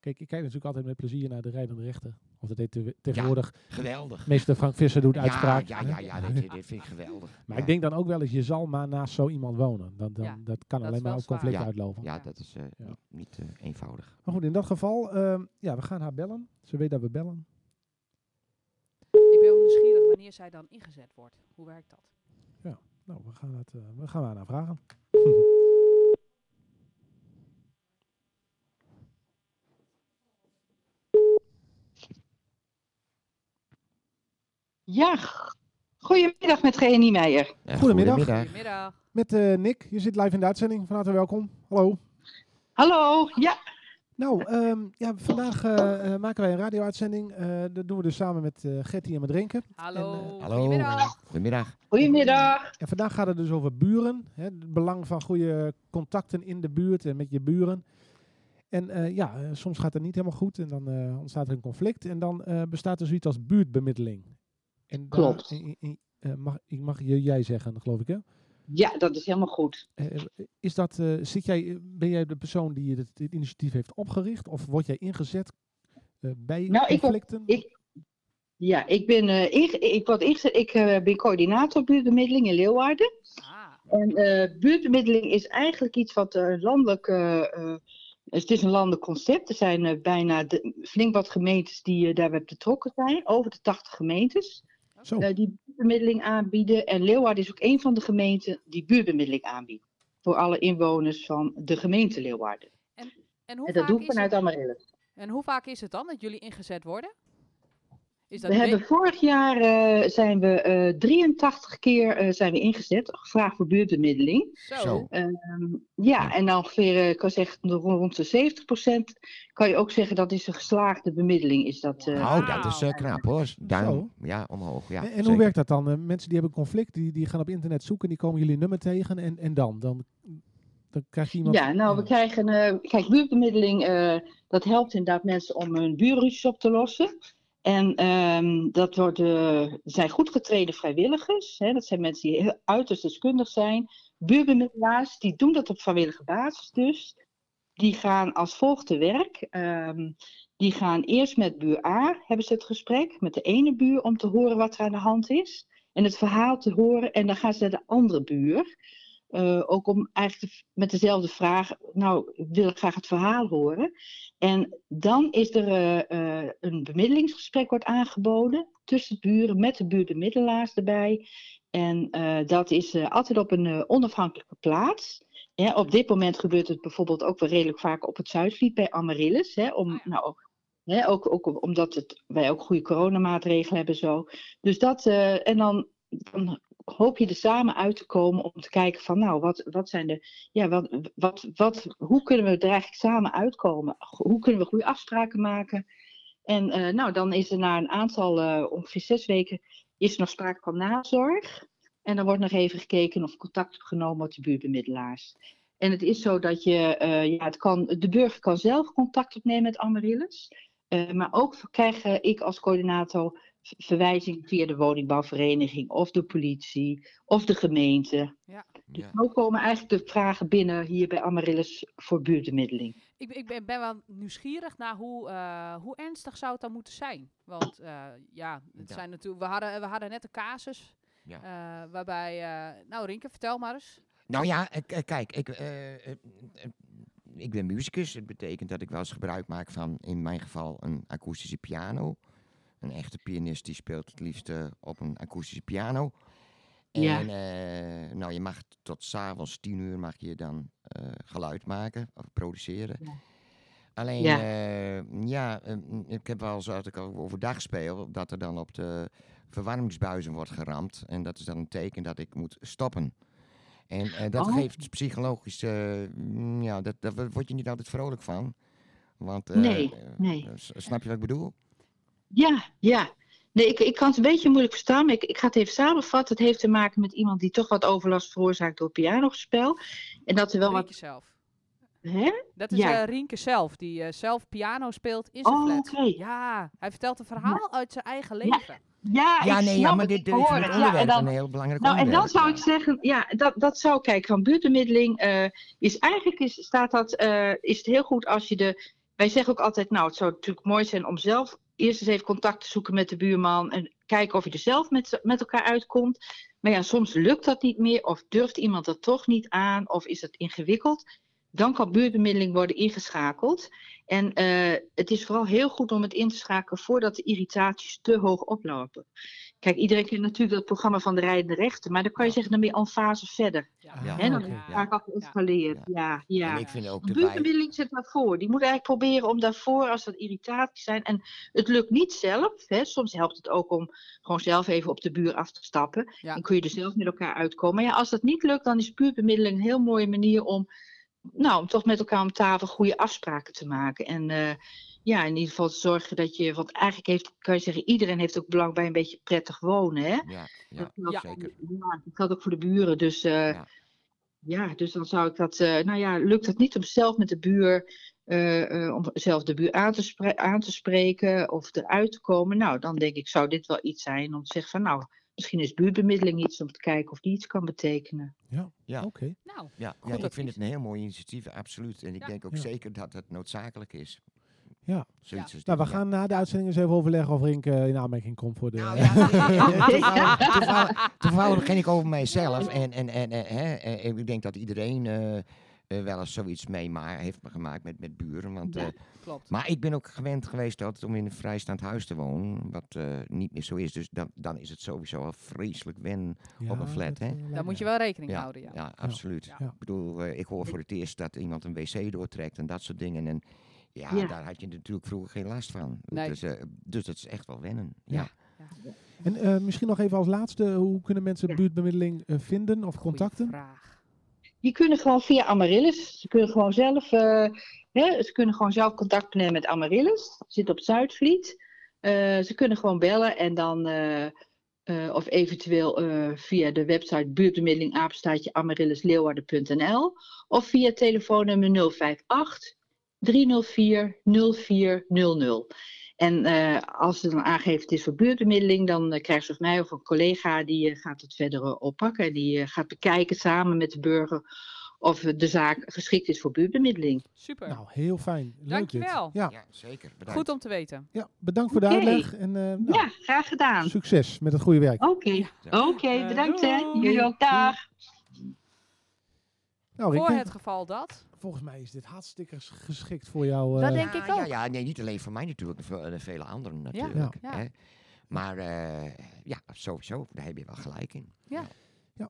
kijk, ik kijk natuurlijk altijd met plezier naar de rijdende rechter. Of dat deed te- tegenwoordig
Geweldig.
meester Frank Visser doet
Ja,
uitspraak.
Ja, ja, ja, dit, dit vind ik geweldig.
Maar
ja.
ik denk dan ook wel eens, je zal maar naast zo iemand wonen. Dan, dan,
Ja,
dat kan
dat
alleen
is
maar
wel
op conflict
zwaar.
uitlopen.
Ja,
Ja.
dat is eh,
Ja.
niet, niet eh, eenvoudig.
Maar goed, in dat geval, ehm, ja, we gaan haar bellen. Ze weet dat we bellen.
Ik ben ook nieuwsgierig wanneer zij dan ingezet wordt. Hoe werkt dat?
Nou, we gaan, het, eh, we gaan aan haar vragen.
Ja, goedemiddag met Genie Meijer.
Eh,
Goedemiddag.
Goedemiddag.
Met eh, Nick, je zit live in de uitzending. Van harte welkom. Hallo.
Hallo, ja,
Nou, ehm, ja, vandaag eh, eh, maken wij een radio-uitzending. Eh, dat doen we dus samen met eh Gertie en met Renke.
Hallo.
En, eh,
Hallo.
Goedemiddag.
Goedemiddag.
goedemiddag.
En vandaag gaat het dus over buren. Hè, het belang van goede contacten in de buurt en met je buren. En eh, ja, eh, soms gaat het niet helemaal goed en dan eh, ontstaat er een conflict. En dan eh, bestaat er zoiets als buurtbemiddeling. En daar-
Klopt.
i- i- i- eh, mag, ik mag je jij zeggen, geloof ik, hè?
Ja, dat is helemaal goed.
Eh, Is dat, eh, zit jij, ben jij de persoon die het, dit initiatief heeft opgericht? Of word jij ingezet eh, bij
Nou, ik-
conflicten?
ik- Ja, ik ben, eh, inge- ik, word ingezet- ik eh, ben coördinator buurtbemiddeling in Leeuwarden.
Ah,
En eh, buurtbemiddeling is eigenlijk iets wat eh, landelijk. eh, eh, het is een landelijk concept. Er zijn eh, bijna de- flink wat gemeentes die eh, daarbij betrokken zijn. Over de 80 gemeentes
Zo,
eh, die buurtbemiddeling aanbieden. En Leeuwarden is ook een van de gemeenten die buurtbemiddeling aanbiedt. Voor alle inwoners van de gemeente Leeuwarden.
en hoe,
En dat
vaak
doe ik
is
vanuit
het,
Amaryllis.
en hoe vaak is het dan dat jullie ingezet worden? Is dat
We
we-
hebben vorig jaar eh, zijn we eh, 83 keer eh, zijn we ingezet, gevraagd voor buurtbemiddeling.
zo?
Zo.
Ehm, ja,
Ja.
en dan ongeveer, eh, ik kan zeggen, rond, rond de 70% kan je ook zeggen dat is een geslaagde bemiddeling. Is dat, eh.
Wauw.
Oh, dat is eh, knap hoor. Duim, ja, omhoog. Ja,
Ah. en, en hoe
zeker.
werkt dat dan? Eh, mensen die hebben een conflict, die, die gaan op internet zoeken, die komen jullie nummer tegen en, en dan? dan? Dan krijg je iemand...
Ja, nou, we krijgen, eh, kijk, buurtbemiddeling, eh, dat helpt inderdaad mensen om hun buurruzies op te lossen. En ehm, dat wordt, eh, er zijn goed getrainde vrijwilligers. Hè, dat zijn mensen die heel uiterst deskundig zijn. Buurtbemiddelaars, die doen dat op vrijwillige basis dus. Die gaan als volgt te werk. Ehm, die gaan eerst met buur A, hebben ze het gesprek, met de ene buur om te horen wat er aan de hand is. En het verhaal te horen. En dan gaan ze naar de andere buur. Eh, ook om eigenlijk de- met dezelfde vraag, nou, ik wil graag het verhaal horen. En dan is er eh, eh, een bemiddelingsgesprek wordt aangeboden tussen de buren, met de buurtbemiddelaars erbij. En eh, dat is eh, altijd op een eh, onafhankelijke plaats. Ja, op dit moment gebeurt het bijvoorbeeld ook wel redelijk vaak op het Zuidvliet bij Amaryllis. Hè, om,
Ah, ja.
nou, ook- hè, ook, ook omdat het, wij ook goede coronamaatregelen hebben zo. Dus dat, eh, en dan, dan hoop je er samen uit te komen om te kijken van nou, wat, wat zijn de, ja, wat, wat, wat, hoe kunnen we er eigenlijk samen uitkomen? Hoe kunnen we goede afspraken maken? En eh, nou, dan is er na een aantal, eh, ongeveer zes weken, is er nog sprake van nazorg. En dan wordt nog even gekeken of contact genomen wordt met de buurtbemiddelaars. En het is zo dat je, eh, ja, het kan, de burger kan zelf contact opnemen met Amaryllis. Eh, maar ook krijg eh, ik als coördinator verwijzing via de woningbouwvereniging of de politie of de gemeente. Dus
Ja.
Zo komen eigenlijk de vragen binnen hier bij Amaryllis voor buurtbemiddeling.
Ik, ben- ik ben, ben wel nieuwsgierig naar hoe, eh, hoe ernstig zou het dan moeten zijn. Want eh, ja, het
Ja.
Zijn natuurlijk, we, hadden, we hadden net een casus.
Ja.
eh, waarbij, eh, nou Rinke, vertel maar eens.
Nou ja, eh, k- kijk, ik, eh, eh, eh, ik ben muzikus. Het betekent dat ik wel eens gebruik maak van, in mijn geval, een akoestische piano. Een echte pianist die speelt het liefst eh, op een akoestische piano. En
Ja.
eh, nou, je mag tot s'avonds tien uur mag je dan eh, geluid maken of produceren.
Ja.
Alleen,
Ja.
eh, ja, eh, mm, ik heb wel eens, als ik overdag speel, dat er dan op de verwarmingsbuizen wordt geramd. En dat is dan een teken dat ik moet stoppen. En eh, dat
Oh.
geeft psychologisch, eh, mm, ja, dat, daar word je niet altijd vrolijk van. Want, eh,
Nee,
eh,
nee.
s- Snap je wat ik bedoel?
Ja, ja. Nee, ik, ik kan het een beetje moeilijk verstaan, maar ik, ik ga het even samenvatten. Het heeft te maken met iemand die toch wat overlast veroorzaakt door pianogespel. En dat er wel
Rinke
wat...
zelf.
Hè?
Dat is
Ja.
eh, Rienke zelf, die eh, zelf piano speelt in zijn
Oh,
flat.
oké.
Ja, hij vertelt een verhaal uit zijn eigen leven.
Ja, ik snap het, ik
dit is
hoor
een
het.
onderwerp,
Ja, en dan,
een heel belangrijk
Nou, en
onderwerp.
dan zou ik zeggen, ja, dat, dat zou, kijk, van buurtbemiddeling eh, is eigenlijk, is, staat dat, eh, is het heel goed als je de, wij zeggen ook altijd, nou, het zou natuurlijk mooi zijn om zelf eerst eens even contact te zoeken met de buurman en kijken of je er zelf met, z'n- met elkaar uitkomt. Maar ja, soms lukt dat niet meer of durft iemand dat toch niet aan of is dat ingewikkeld. Dan kan buurtbemiddeling worden ingeschakeld. En eh, het is vooral heel goed om het in te schakelen voordat de irritaties te hoog oplopen. Kijk, iedereen kent natuurlijk dat programma van de rijdende rechten, maar dan kan je zeggen, dan ben je al een fase verder.
Ja,
hè, dan
oké.
is het
ja.
vaak al geïnstalleerd. Ja, ja.
En ik vind ook
De
de wij-
buurtbemiddeling zit daarvoor. Die moet eigenlijk proberen om daarvoor, als dat irritaties zijn. En het lukt niet zelf. Hè. Soms helpt het ook om gewoon zelf even op de buur af te stappen.
Ja.
Dan kun je er zelf met elkaar uitkomen. Maar ja, als dat niet lukt, dan is buurtbemiddeling een heel mooie manier om, nou, om toch met elkaar om tafel goede afspraken te maken. En eh, ja, in ieder geval te zorgen dat je, want eigenlijk heeft, kan je zeggen, iedereen heeft ook belang bij een beetje prettig wonen. Hè?
Ja,
Dat
ja,
geldt-
Ja.
zeker.
ja, dat geldt ook voor de buren. Dus, eh,
Ja.
ja. dus dan zou ik dat. eh, nou ja, lukt het niet om zelf met de buur. eh, eh, om zelf de buur aan te, spre- aan te spreken of eruit te komen. Nou, dan denk ik, zou dit wel iets zijn om te zeggen van nou, misschien is buurtbemiddeling iets om te kijken of die iets kan betekenen.
Ja.
Oké.
Nou,
Ja, ja,
Goed
ik vind
advies.
het een heel mooi initiatief, absoluut. En ik
Ja.
denk ook
Ja.
zeker dat het noodzakelijk is.
Ja.
Zoiets als
Nou, we
dit, ja.
gaan na de uitzending eens even overleggen of Rink eh, in aanmerking komt voor de...
nou ja,
Toevallig- toevallig- Toevallig begin ik over mijzelf. En, en, en, eh, hè, eh, ik denk dat iedereen eh, eh, wel eens zoiets meemaakt, heeft gemaakt met, met buren. Want,
Ja.
eh,
klopt.
maar ik ben ook gewend geweest altijd om in een vrijstaand huis te wonen. Wat eh, niet meer zo is. Dus dan, dan is het sowieso al vreselijk wennen.
[LAUGHS] Ja,
op een flat,
dat,
hè?
eh,
Daar
lijkt
moet je
me.
wel rekening
Ja,
houden, ja.
ja, absoluut.
Ja.
Ja.
Ik bedoel, eh, ik hoor voor het eerst dat iemand een wc doortrekt en dat soort dingen. En ja,
Ja.
daar had je natuurlijk vroeger geen last van.
Nee.
Dus, eh, dus dat is echt wel wennen.
Ja.
Ja.
En eh, misschien nog even als laatste, hoe kunnen mensen
Ja.
buurtbemiddeling eh, vinden of
Goeie
contacten?
vraag.
Die kunnen gewoon via Amaryllis. Ze kunnen gewoon zelf, eh, hè, ze kunnen gewoon zelf contact nemen met Amaryllis. Zit op Zuidvliet. Eh, ze kunnen gewoon bellen en dan, eh, eh, of eventueel eh, via de website buurtbemiddeling apenstaartje amaryllisleeuwarden.nl of via telefoonnummer 058 304 0400. En eh, als ze dan aangeeft het is voor buurtbemiddeling, dan eh, krijgt ze of mij of een collega die eh, gaat het verder eh, oppakken. En die eh, gaat bekijken samen met de burger of eh, de zaak geschikt is voor buurtbemiddeling.
Super.
Nou, heel fijn. Leuk
Dankjewel.
Dit. Ja,
Ja, zeker. Bedankt.
Goed om te weten.
ja, bedankt voor de
Oké.
uitleg. En eh, nou,
Ja, graag gedaan.
succes met het goede werk.
Oké, oké,
Ja.
Eh,
bedankt hè.
doei.
Jullie ook, dag.
Nou,
Voor
Rinke,
het geval dat.
volgens mij is dit hartstikke ges- geschikt voor jou.
Dat
eh,
denk ik
Ja,
ook.
ja, nee, niet alleen voor mij natuurlijk, voor eh, vele anderen natuurlijk.
Ja.
Hè? Maar eh, ja, sowieso, daar heb je wel gelijk in.
Ja,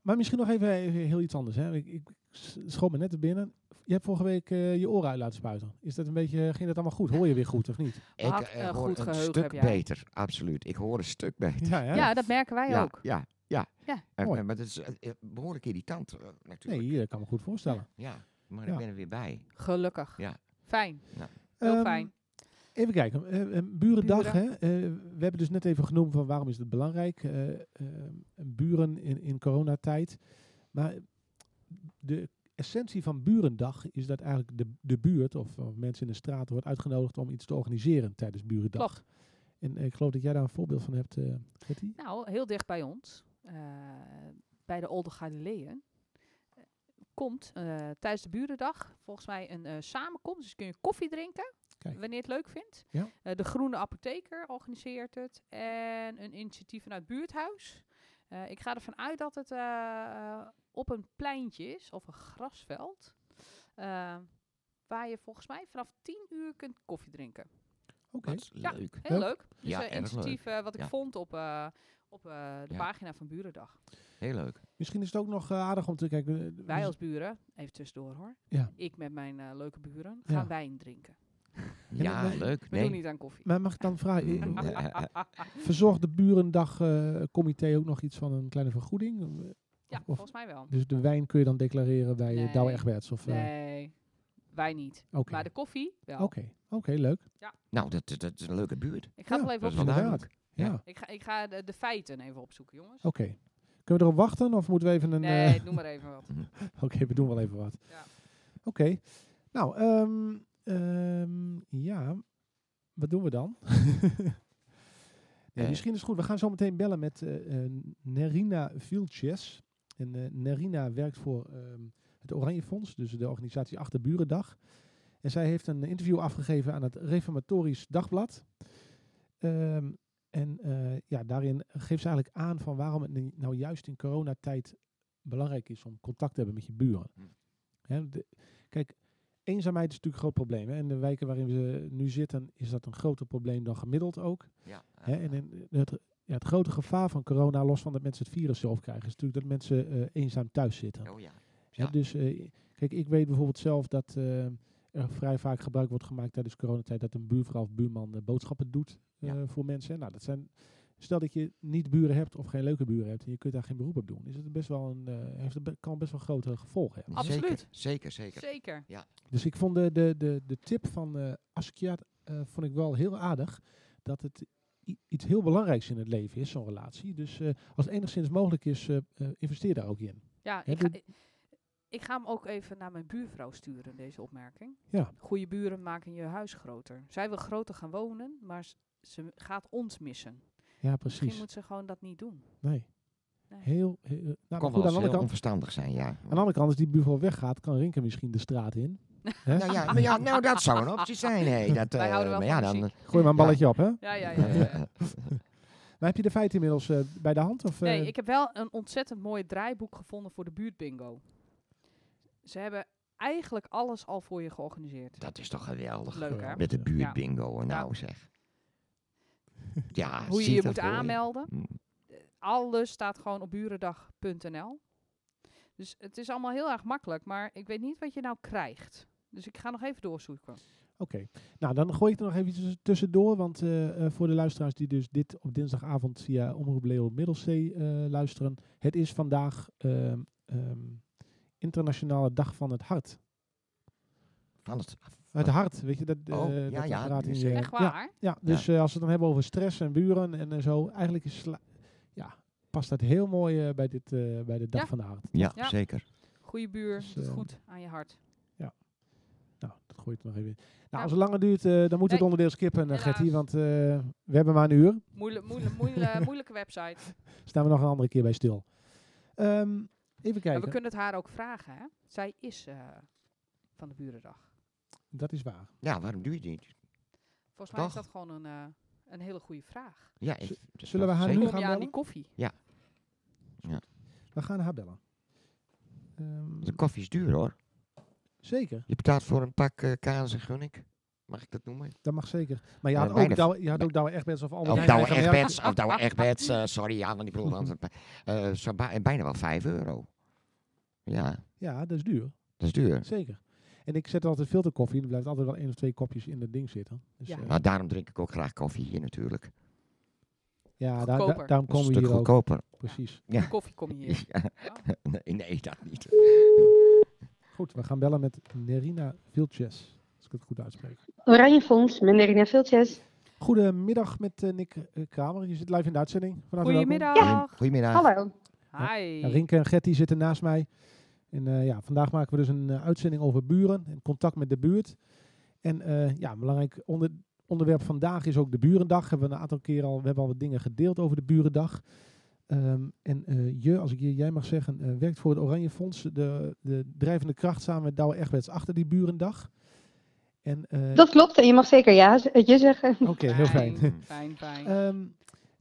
maar misschien nog even, even heel iets anders. Hè. Ik, ik s- schoot me net er binnen. Je hebt vorige week eh, je oren uit laten spuiten. Is dat een beetje, ging dat allemaal goed? Hoor je weer goed of niet?
Ik
Wat
eh,
een
hoor
goed
een
geheugen
stuk
heb jij. [LAUGHS]
beter, absoluut. Ik hoor een stuk beter.
Ja, hè?
Ja, dat merken wij
ja,
ook.
ja. En-
Mooi.
en- Maar dat is eh, eh, behoorlijk irritant eh, natuurlijk.
Nee, dat kan me goed voorstellen.
Ja, maar
Ja.
ik ben er weer bij.
Gelukkig.
Ja.
Fijn,
Ehm,
heel fijn.
Even kijken, eh, eh, Burendag. Hè? Eh, we hebben dus net even genoemd van waarom is het belangrijk. eh, eh, buren in, in coronatijd. Maar de essentie van Burendag is dat eigenlijk de, de buurt of, of mensen in de straat wordt uitgenodigd om iets te organiseren tijdens Burendag.
Klopt.
En eh, ik geloof dat jij daar een voorbeeld van hebt, eh Hetty.
Nou, heel dicht bij ons, eh, bij de Olde Galileeën, eh, komt eh, tijdens de burendag volgens mij een eh, samenkomst. Dus kun je koffie drinken,
Kijk.
wanneer je het leuk vindt.
Ja.
Eh, de Groene Apotheker organiseert het en een initiatief vanuit Buurthuis. Eh, ik ga ervan uit dat het eh, eh, op een pleintje is, of een grasveld, eh, waar je volgens mij vanaf 10 uur kunt koffie drinken.
Oké.
Dat is
Ja.
leuk.
Heel
Leuk.
leuk. Dus
Ja,
eh,
erg leuk.
initiatief eh, wat ik
Ja.
vond op, eh, op eh, de
Ja.
pagina van Burendag.
Heel leuk.
Misschien is het ook nog eh, aardig om te kijken. eh,
Wij
dus-
als buren, even tussendoor hoor.
Ja.
Ik met mijn eh, leuke buren
Ja.
gaan wijn drinken.
Ja,
maar-
leuk.
We
Nee.
doen niet aan koffie.
Maar mag ik dan vragen,
[LAUGHS]
Mm,
eh,
eh, eh, eh,
verzorgt de Burendag-comité ook nog iets van een kleine vergoeding?
ja,
of-
volgens mij wel.
Dus de wijn kun je dan declareren bij
Nee.
eh, Douwe Egberts? Of, eh,
Nee, wij niet.
Oké,
Maar de koffie wel.
oké, oké, leuk.
Nou, dat, dat- dat is een leuke buurt.
Ik ga het
Ja,
wel
dat
even
is
wel
opzoeken.
duidelijk. Ja,
Ja.
oké.
Ik ga, ik ga de, de feiten even opzoeken, jongens.
Kunnen we erop wachten of moeten we even een...
nee,
eh,
doe maar even wat.
[LAUGHS] oké, we doen wel even wat.
Ja.
Oké, nou, ehm, ehm, ja, wat doen we dan? [LAUGHS] nee,
Eh.
Misschien is het goed, we gaan zo meteen bellen met eh, eh, Nerina Vilches. En eh, Nerina werkt voor ehm, het Oranje Fonds, dus de organisatie Achterburendag. En zij heeft een interview afgegeven aan het Reformatorisch Dagblad. Ehm, en eh, ja, daarin geeft ze eigenlijk aan van waarom het nu- nou juist in coronatijd belangrijk is om contact te hebben met je buren.
Hm.
Hè, de- kijk, eenzaamheid is natuurlijk een groot probleem. Hè? En de wijken waarin we nu zitten, is dat een groter probleem dan gemiddeld ook.
Ja. eh,
Hè, en in- het, ja, het grote gevaar van corona, los van dat mensen het virus zelf krijgen, is natuurlijk dat mensen eh, eenzaam thuis zitten.
oh ja.
Hè,
Ja.
dus eh, kijk, ik weet bijvoorbeeld zelf dat eh, er vrij vaak gebruik wordt gemaakt tijdens coronatijd dat een buurvrouw of buurman eh, boodschappen doet eh,
Ja.
voor mensen. hè. Nou, dat zijn, stel dat je niet buren hebt of geen leuke buren hebt en je kunt daar geen beroep op doen, is het best wel een, eh, heeft het be- kan best wel grote gevolgen hebben.
Absoluut.
Zeker, zeker. [LAUGHS] zeker.
Zeker.
Dus ik vond de, de, de, de tip van eh Askia eh, vond ik wel heel aardig. Dat het i- iets heel belangrijks in het leven is, zo'n relatie. Dus eh, als het enigszins mogelijk is, eh, eh, investeer daar ook in.
Ja,
Hè,
ik ga,
doe-
ik, ik ga hem ook even naar mijn buurvrouw sturen, deze opmerking.
Ja.
Goede buren maken je huis groter. Zij wil groter gaan wonen, maar s- ze gaat ons missen.
Ja,
Misschien
precies.
moet ze gewoon dat niet doen.
Nee.
Nee.
Heel, heel, nou, maar goed,
Kan wel
aan
eens
de andere
heel
kant.
onverstandig zijn, ja.
Aan de andere kant, als die buurvrouw weggaat, kan Rinke misschien de straat
[LAUGHS]
in. Hè?
Nou ja, maar ja, nou dat zou een optie zijn. Hey, dat,
Wij
eh,
houden wel
maar
van
ja, dan,
Gooi maar een balletje op, hè?
Ja, ja, ja. ja, ja.
[LAUGHS] Maar heb je de feiten inmiddels eh, bij de hand? Of, eh,
Nee, ik heb wel een ontzettend mooi draaiboek gevonden voor de buurtbingo. Ze hebben eigenlijk alles al voor je georganiseerd.
dat is toch geweldig.
Leuk hè?
Met de buurt bingo, nou
Ja.
zeg. Ja,
Hoe je
zie
je
dat
moet
voor
aanmelden.
Mm.
Alles staat gewoon op burendag.nl. Dus het is allemaal heel erg makkelijk, maar ik weet niet wat je nou krijgt. Dus ik ga nog even doorzoeken.
Oké, nou dan gooi ik er nog even tuss- tussendoor, want eh, eh, voor de luisteraars die dus dit op dinsdagavond via Omroep Leo Middelzee eh, luisteren, het is vandaag ehm, ehm, Internationale Dag van het Hart.
Van het,
Het hart, weet je, dat, eh
Ah. Oh, ja,
dat
ja,
apparaat
die
in
is
je...
er.
Echt
Ja,
waar?
ja, dus eh, als we het dan hebben over stress en buren en eh, zo, eigenlijk is sla- ja, past dat heel mooi eh, bij, dit, eh, bij de Dag
Ja.
van het Hart.
ja,
Ja.
zeker.
Goeie buur,
Dus,
doet
eh,
goed aan je hart.
Nou, dat gooi ik er nog even in. Nou,
Nou.
als het langer duurt, eh, dan moet
Nee.
het onderdeel skippen, eh, Gertie,
Helaas.
want eh, we hebben maar een uur.
Moeilijk, moeilijk,
[LAUGHS]
moeilijk, moeilijke website.
Staan we nog een andere keer bij stil. Ehm, even
Maar
kijken.
we kunnen het haar ook vragen, hè? Zij is eh, van de burendag.
Dat is waar.
Ja, waarom doe je dit? niet?
Volgens mij is
Dag.
dat gewoon een, eh, een hele goede vraag.
Ja, ik, dat
zullen we
snap
haar
ik
nu
Kom
zeker.
je
gaan
aan
bellen?
die koffie?
We gaan haar bellen. Ehm,
De koffie is duur hoor.
zeker,
Je betaalt voor een pak eh kaas en gunnik. Mag ik dat noemen?
dat mag zeker. Maar je had
Eh,
ook
bijna-
Douwe, je had ook Douwe Egberts of Albert
Of
Heijn
Douwe
eigen merk.
Egberts, of Douwe Egberts, eh, sorry, ja, want ik bedoel
[LAUGHS]
dan eh, zo bij- bijna wel 5 euro. Ja,
Ja, dat is duur.
dat is duur.
Zeker. En ik zet altijd filterkoffie. Er blijft altijd wel één of twee kopjes in dat ding zitten. Dus,
Ja.
eh,
Maar daarom drink ik ook graag koffie hier natuurlijk.
Ja, daar- daar-
Goedkoper.
daarom
Dat is
komen
een
we
stuk
hier ook.
goedkoper.
Precies.
De koffie kom je hier.
[LAUGHS] Nee, nee, dat niet.
Goed, we gaan bellen met Nerina Vilches. Als ik het goed uitspreek.
Oranje Fonds, met Nerina Viltjes.
Goedemiddag met eh, Nick eh, Kramer. Je zit live in de uitzending. Van harte welkom.
Goedemiddag.
Ehm, Goedemiddag.
Hallo.
Hi.
Ja, Rinke en Gertie zitten naast mij. En eh, ja, vandaag maken we dus een eh, uitzending over buren en contact met de buurt. En eh, ja, een belangrijk onder, onderwerp vandaag is ook de Burendag. Hebben we een aantal keer al, we hebben al wat dingen gedeeld over de Burendag. Ehm, en eh, je, als ik je, jij mag zeggen, eh, werkt voor het Oranje Fonds, de, de drijvende kracht samen met Douwe Egberts achter die Burendag. En, eh,
Dat klopt, en je mag zeker ja, z- eh, je zeggen.
Oké, heel fijn. Hmm.
Fijn, fijn, fijn.
Ehm,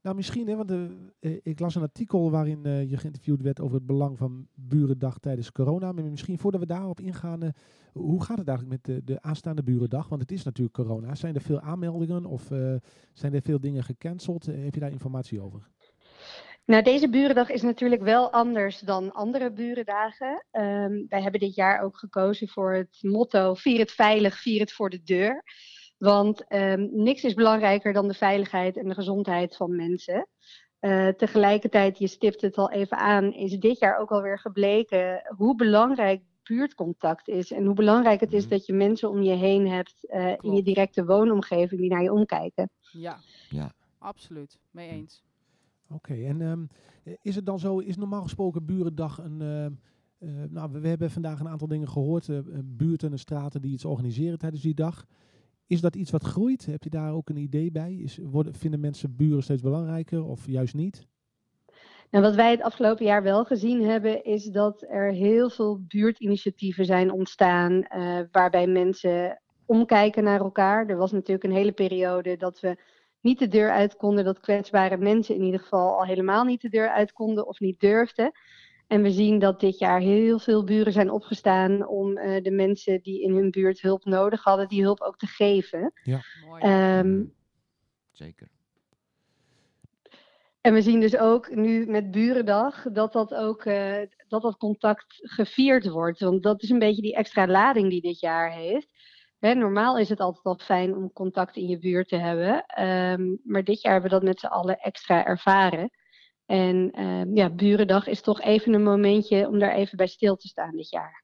nou, misschien, hè, want eh, eh, ik las een artikel waarin eh, je geïnterviewd werd over het belang van Burendag tijdens corona. Maar misschien voordat we daarop ingaan, eh, hoe gaat het eigenlijk met de, de aanstaande Burendag? Want het is natuurlijk corona. Zijn er veel aanmeldingen of eh, zijn er veel dingen gecanceld? Eh, heb je daar informatie over?
Nou, deze burendag is natuurlijk wel anders dan andere burendagen. Ehm, wij hebben dit jaar ook gekozen voor het motto: vier het veilig, vier het voor de deur. Want ehm, niks is belangrijker dan de veiligheid en de gezondheid van mensen. Eh, tegelijkertijd, je stipt het al even aan, is dit jaar ook alweer gebleken hoe belangrijk buurtcontact is. En hoe belangrijk het is
Mhm.
dat je mensen om je heen hebt eh, in
Klopt.
je directe woonomgeving die naar je omkijken.
Ja.
Ja.
Absoluut. Mee eens.
Oké, en ehm, eh, is het dan zo, is normaal gesproken Burendag een... ehm, eh, nou, we, we hebben vandaag een aantal dingen gehoord, eh, eh, buurten en straten die iets organiseren tijdens die dag. Is dat iets wat groeit? Heb je daar ook een idee bij? Is, worden, vinden mensen buren steeds belangrijker of juist niet?
En wat wij het afgelopen jaar wel gezien hebben, is dat er heel veel buurtinitiatieven zijn ontstaan eh, waarbij mensen omkijken naar elkaar. Er was natuurlijk een hele periode dat we niet de deur uit konden, dat kwetsbare mensen in ieder geval al helemaal niet de deur uit konden of niet durfden. En we zien dat dit jaar heel veel buren zijn opgestaan om eh, de mensen die in hun buurt hulp nodig hadden, die hulp ook te geven.
Mooi.
Ehm,
Zeker.
En we zien dus ook nu met Burendag dat dat ook eh, dat dat contact gevierd wordt. Want dat is een beetje die extra lading die dit jaar heeft. Hè, normaal is het altijd al fijn om contact in je buurt te hebben. ehm, maar dit jaar hebben we dat met z'n allen extra ervaren. En ehm, ja, Burendag is toch even een momentje om daar even bij stil te staan dit jaar.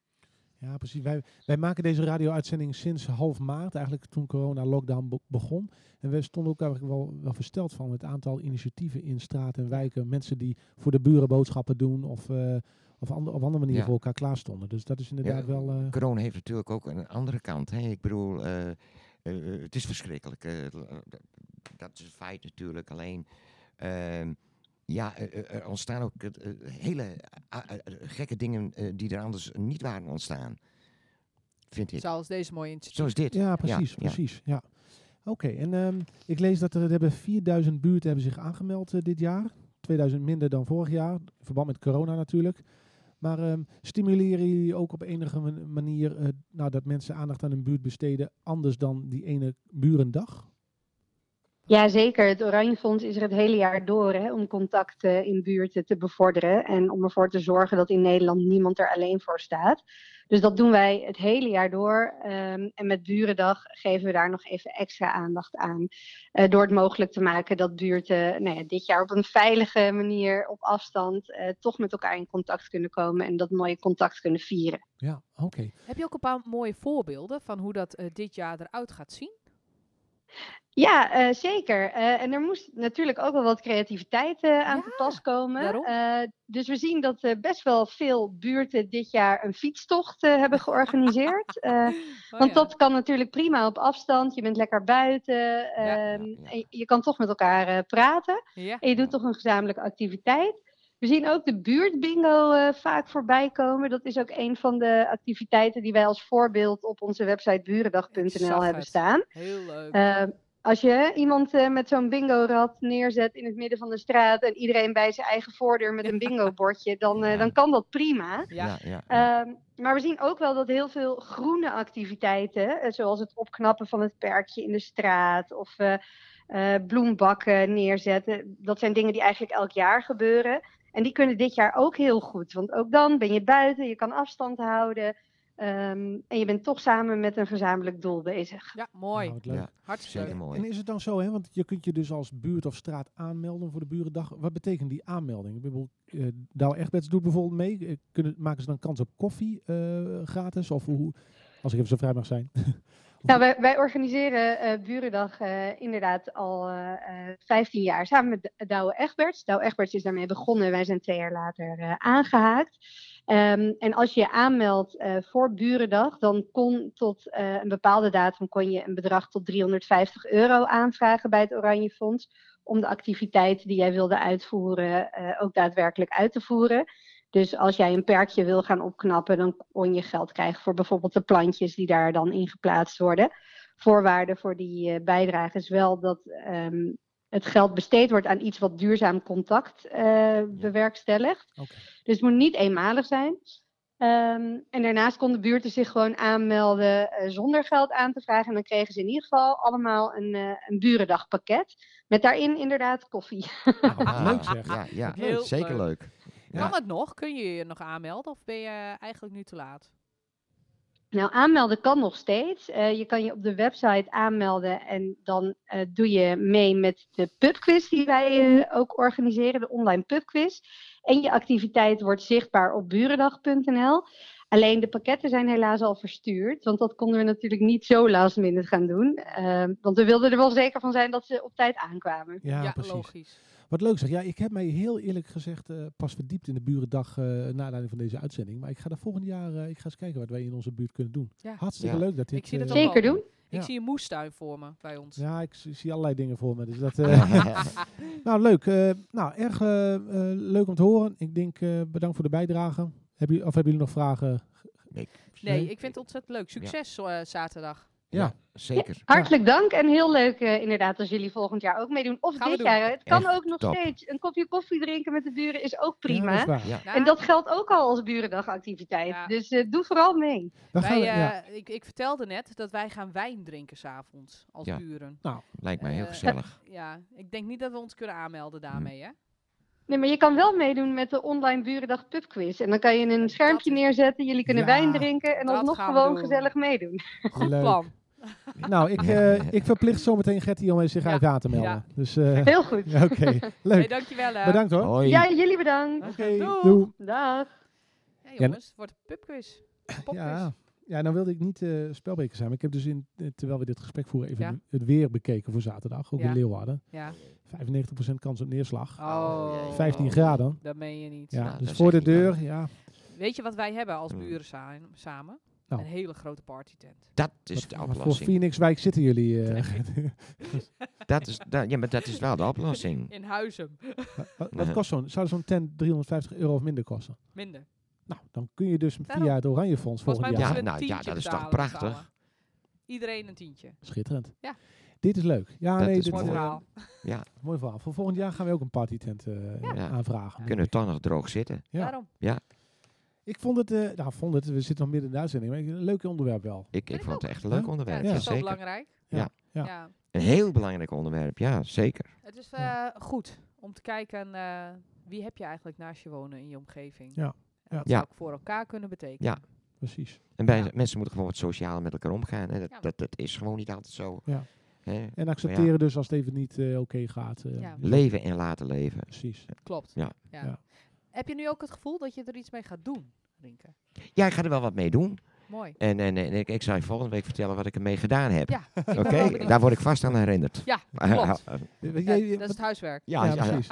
Ja, precies. Wij, wij maken deze radio-uitzending sinds half maart, eigenlijk toen corona-lockdown be- begon. En we stonden ook eigenlijk wel, wel versteld van het aantal initiatieven in straten en wijken. Mensen die voor de buren boodschappen doen of, eh, of ander- op andere manier
Ja.
voor elkaar klaarstonden. Dus dat is inderdaad wel... eh,
Corona heeft natuurlijk ook een andere kant. Hè? Ik bedoel, eh, eh, het is verschrikkelijk. eh, l- eh, d- dat is een feit natuurlijk. Alleen, ehm, ja, eh, eh, er ontstaan ook eh, eh, hele ah, eh, eh, gekke dingen eh, die er anders niet waren ontstaan. Vind ik.
Zoals deze mooie initiatief.
Zo is dit.
Ja, precies,
ja.
precies. Ja. Oké, en ehm, ik lees dat er, er hebben 4000 buurten hebben zich aangemeld eh, dit jaar. 2000 minder dan vorig jaar, in verband met corona natuurlijk. Maar ehm, stimuleren jullie ook op enige man- manier eh, nou, dat mensen aandacht aan hun buurt besteden, anders dan die ene burendag?
Ja, zeker. Het Oranje Fonds is er het hele jaar door hè, om contacten in buurten te bevorderen en om ervoor te zorgen dat in Nederland niemand er alleen voor staat. Dus dat doen wij het hele jaar door. ehm, en met Burendag geven we daar nog even extra aandacht aan. eh, door het mogelijk te maken dat buurten nou ja, dit jaar op een veilige manier op afstand eh, toch met elkaar in contact kunnen komen en dat mooie contact kunnen vieren.
Ja, oké.
Heb je ook een paar mooie voorbeelden van hoe dat eh, dit jaar eruit gaat zien?
Ja, eh, zeker. Eh, en er moest natuurlijk ook wel wat creativiteit eh, aan te pas komen.
daarom.
Eh, dus we zien dat eh, best wel veel buurten dit jaar een fietstocht eh, hebben
[LAUGHS]
georganiseerd. Eh,
Oh ja.
want dat kan natuurlijk prima op afstand. Je bent lekker buiten.
ja,
ehm,
ja.
en je- je kan toch met elkaar eh, praten.
Ja.
En je doet toch een gezamenlijke activiteit. We zien ook de buurtbingo eh, vaak voorbij komen. Dat is ook een van de activiteiten die wij als voorbeeld op onze website
Ik zag
burendag.nl hebben
het.
staan.
Heel leuk.
Eh, als je iemand eh, met zo'n bingo-rad neerzet in het midden van de straat en iedereen bij zijn eigen voordeur met een bingo-bordje, dan, eh,
Ja.
dan kan dat prima.
ja.
ja, ja, ja.
Ehm, maar we zien ook wel dat heel veel groene activiteiten, eh, zoals het opknappen van het perkje in de straat of eh, eh, bloembakken neerzetten, dat zijn dingen die eigenlijk elk jaar gebeuren. En die kunnen dit jaar ook heel goed, want ook dan ben je buiten, je kan afstand houden. Eh, ehm, en je bent toch samen met een gezamenlijk doel bezig.
Ja, mooi.
Nou, wat leuk.
Ja.
Hartstikke
Zeker
leuk.
mooi.
Eh, En is het dan zo, hè? want je kunt je dus als buurt of straat aanmelden voor de burendag. Wat betekent die aanmelding? Ik bedoel, eh Douwe Egberts doet bijvoorbeeld mee. Eh, Kunnen, maken ze dan kans op koffie eh, gratis? Of hoe, als ik even zo vrij mag zijn.
Nou, wij, wij organiseren eh, Burendag eh, inderdaad al eh, eh, 15 jaar samen met D- Douwe Egberts. Douwe Egberts is daarmee begonnen. Wij zijn twee jaar later eh, aangehaakt. Ehm, en als je je aanmeldt eh, voor Burendag, dan kon tot eh, een bepaalde datum kon je een bedrag tot 350 euro aanvragen bij het Oranje Fonds. Om de activiteiten die jij wilde uitvoeren eh, ook daadwerkelijk uit te voeren. Dus als jij een perkje wil gaan opknappen, dan kon je geld krijgen voor bijvoorbeeld de plantjes die daar dan in geplaatst worden. Voorwaarde voor die eh, bijdrage is wel dat ehm, het geld besteed wordt aan iets wat duurzaam contact eh, bewerkstelligt.
Oké.
Dus het moet niet eenmalig zijn. Ehm, en daarnaast konden buurten zich gewoon aanmelden eh, zonder geld aan te vragen. En dan kregen ze in ieder geval allemaal een, eh een burendagpakket. Met daarin inderdaad koffie. [LAUGHS]
Nou,
Ah,
leuk zeg.
Ja, ja.
Heel leuk.
zeker leuk. Ja.
Kan het nog? Kun je je nog aanmelden of ben je eigenlijk nu te laat?
Nou, aanmelden kan nog steeds. Eh, je kan je op de website aanmelden en dan eh, doe je mee met de pubquiz die wij eh, ook organiseren, de online pubquiz. En je activiteit wordt zichtbaar op burendag.nl. Alleen de pakketten zijn helaas al verstuurd, want dat konden we natuurlijk niet zo last minute gaan doen. Eh, want we wilden er wel zeker van zijn dat ze op tijd aankwamen.
[LAUGHS] Ja, precies.
logisch.
Wat leuk zeg. Ja, ik heb mij heel eerlijk gezegd eh, pas verdiept in de burendag eh naar aanleiding van deze uitzending. Maar ik ga daar volgend jaar eh, ik ga eens kijken wat wij in onze buurt kunnen doen.
Ja.
Hartstikke
Ja.
leuk dat dit...
Ik zie dat
eh,
ook al.
Zeker doen.
Ja.
Ik zie een moestuin voor me bij ons.
Ja, ik zie zie allerlei dingen voor me. Dus
[LAUGHS]
dat, eh,
[LAUGHS]
Nou, leuk. Eh, nou, erg eh, eh, leuk om te horen. Ik denk, eh, bedankt voor de bijdrage. Hebben jullie, of hebben jullie nog vragen?
Nee,
Nee.
ik vind het ontzettend leuk. Succes eh, zaterdag.
Ja.
Ja, zeker.
Hartelijk dank en heel leuk eh, inderdaad als jullie volgend jaar ook meedoen. Of
Gaan we
dit
doen.
jaar. Het kan
Echt
ook nog
top.
steeds. Een kopje koffie drinken met de buren is ook
Ja,
prima.
dat is waar.
Ja.
Nou,
En dat geldt ook al als burendagactiviteit.
Ja.
Dus eh, doe vooral mee.
Dan gaan
wij,
we, ja.
eh, ik, ik vertelde net dat wij gaan wijn drinken s'avonds als
Ja.
buren.
Lijkt mij heel
Eh,
gezellig.
Ja, ik denk niet dat we ons kunnen
Mm.
aanmelden daarmee, hè?
Nee, maar je kan wel meedoen met de online Burendag pubquiz. En dan kan je een schermpje
is-
neerzetten, jullie kunnen
Ja,
wijn drinken en
dat
dan nog
gaan we
gewoon
doen.
gezellig meedoen.
Goed
Leuk.
plan.
Nou, ik, eh, ik verplicht zometeen Gertie om eens zich
Ja.
even aan te melden.
Ja.
Dus, eh, [LAUGHS]
Heel goed.
ja, oké.
Hey,
Leuk.
dankjewel, eh. hè.
Bedankt hoor.
Hoi.
Ja, jullie bedankt.
Oké,
Doeg.
doei.
Dag.
Hey, jongens, het wordt een pubquiz. Popquiz.
Ja. ja, nou wilde ik niet eh spelbeker zijn. Maar ik heb dus, in, eh, terwijl we dit gesprek voeren, even
Ja.
het weer bekeken voor zaterdag. Ook
Ja.
in Leeuwarden.
Ja.
95% kans op neerslag.
Oh,
Oh.
15 graden.
dat meen je niet.
Ja,
Nou, dat
dus
is
voor de
echt niet
deur, ja.
Weet je wat wij hebben als
Hmm.
buren sa- samen?
Nou.
Een hele grote partytent.
Dat is de
Maar- maar voor
oplossing.
Phoenixwijk zitten jullie. eh,
Dat is, da- ja, maar dat is wel de oplossing.
In Huizen.
Wat, wat kost zo'n? Zou zo'n tent 350 euro of minder kosten?
Minder.
Nou, dan kun je dus
Daarom.
via het Oranje Fonds
Volgens
volgend
mij
jaar.
moeten
Ja,
we een
nou, ja,
tientje
dat is toch
betalen,
prachtig?
betalen. Iedereen een tientje.
Schitterend.
Ja.
Dit is leuk. Ja,
Dat
nee,
is
dit
Mooi
mooi.
verhaal.
mooi verhaal. Voor volgend jaar gaan we ook een partytent eh
Ja.
aanvragen.
Kunnen we toch nog droog zitten?
Ja.
Daarom.
Ik vond het, eh, nou, vond het, we zitten nog midden in de uitzending, maar ik- een leuk onderwerp wel.
Ik,
Vind
ik
ik
vond het echt een
Ja.
leuk
Ja,
onderwerp.
het
Ja.
is zo
Zeker.
belangrijk.
Ja. Ja.
ja.
Een heel belangrijk onderwerp, ja, zeker.
Het is
Ja.
eh, goed om te kijken eh, wie heb je eigenlijk naast je wonen in je omgeving.
Ja.
En Wat
Ja.
zou ik voor elkaar kunnen betekenen.
Ja.
Precies.
En bij, mensen moeten gewoon wat socialer met elkaar omgaan. Hè.
Ja.
Dat, dat, dat is gewoon niet altijd zo.
Ja.
Hè.
En accepteren dus als het even niet eh, oké gaat. eh,
Ja.
Leven en laten leven.
Precies.
Klopt.
Ja.
Ja.
Ja.
Heb je nu ook het gevoel dat je er iets mee gaat doen, Rinke?
Ja, ik ga er wel wat mee doen.
[LAUGHS]
Mooi.
En, en, en ik, ik zal je volgende week vertellen wat ik ermee gedaan heb.
Ja, ik ben
Oké,
wel benieuwd.
daar word ik vast aan herinnerd. [LAUGHS]
Ja, klopt.
Eh, weet
Ja,
jij, eh,
dat is
wat-
het huiswerk.
Ja, ja, ja,
precies.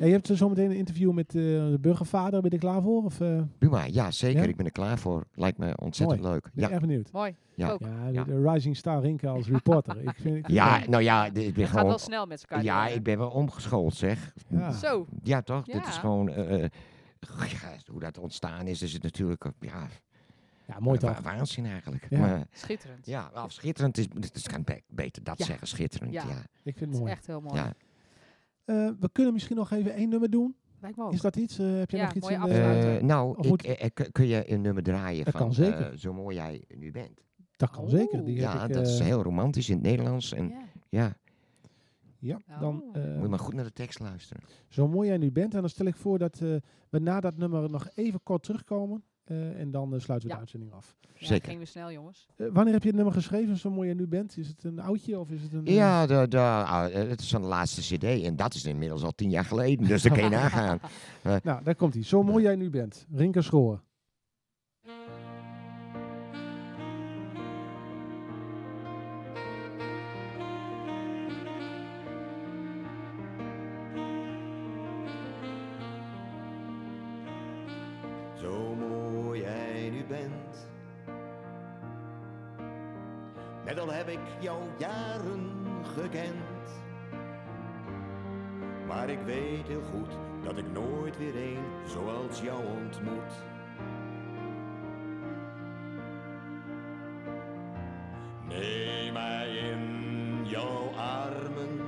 Ja, je hebt zo meteen een interview met eh, de burgervader. Ben je er klaar voor? Of, eh,
Buma, ja zeker.
Ja?
Ik ben er klaar voor. Lijkt me ontzettend leuk.
ben ik
Ja.
erg benieuwd.
Mooi.
Ja.
Ook.
Ja, de,
Ja.
de Rising Star Rinke als reporter. ik vind, ik vind
ja, nou ja, d- ik ben
Het gaat wel
gewoon...
snel met elkaar.
Ja,
die
ik
jongen.
ben wel omgeschoold, zeg.
ja.
Zo.
Ja, toch? Dit is
Ja.
gewoon... eh, eh, ja, hoe dat ontstaan is, is het natuurlijk... eh, Ja,
ja, mooi
wa-
toch?
waanzin eigenlijk.
Ja.
Maar,
Schitterend.
ja, wel, schitterend is... Het kan be- beter dat
Ja.
zeggen, schitterend.
Ja.
Ja. Ja.
Ik vind
Het
het
is
mooi.
echt heel mooi.
Ja.
Eh, we kunnen misschien nog even één nummer doen.
Lijkt me ook.
Is dat iets? Eh, heb je
Oh. Ja,
nog iets
mooie
in
Eh,
de...
afsluiting. Afsluiten.
nou,
Of
ik,
moet-
eh, eh, kun- kun je een nummer draaien
Dat
van
kan zeker.
eh, Zo mooi jij nu bent.
dat kan zeker. Die
Oeh.
heb
Oh. Ja,
ik,
dat is
eh,
heel romantisch in het Nederlands. En
Ja.
ja,
Ja,
Oh.
dan, eh,
moet je maar goed naar de tekst luisteren.
zo mooi jij nu bent. En dan stel ik voor dat eh, we na dat nummer nog even kort terugkomen. Eh, en dan eh, sluiten we de
Ja.
uitzending af.
Ja,
Zeker.
gingen we snel, jongens.
Eh, wanneer heb je het nummer geschreven, zo mooi je nu bent? Is het een oudje of is het
Mm.
een... eh,
Ja, de, de, ah, eh, het is van de laatste cd en dat is inmiddels al tien jaar geleden, dus daar kan je
[LAUGHS]
nagaan.
Nou, daar komt hij. Zo mooi jij nu bent. Rinker Schoor.
Zo mooi jij nu bent. Net al heb ik jou jaren gekend. Maar ik weet heel goed dat ik nooit weer een zoals jou ontmoet. Neem mij in jouw armen.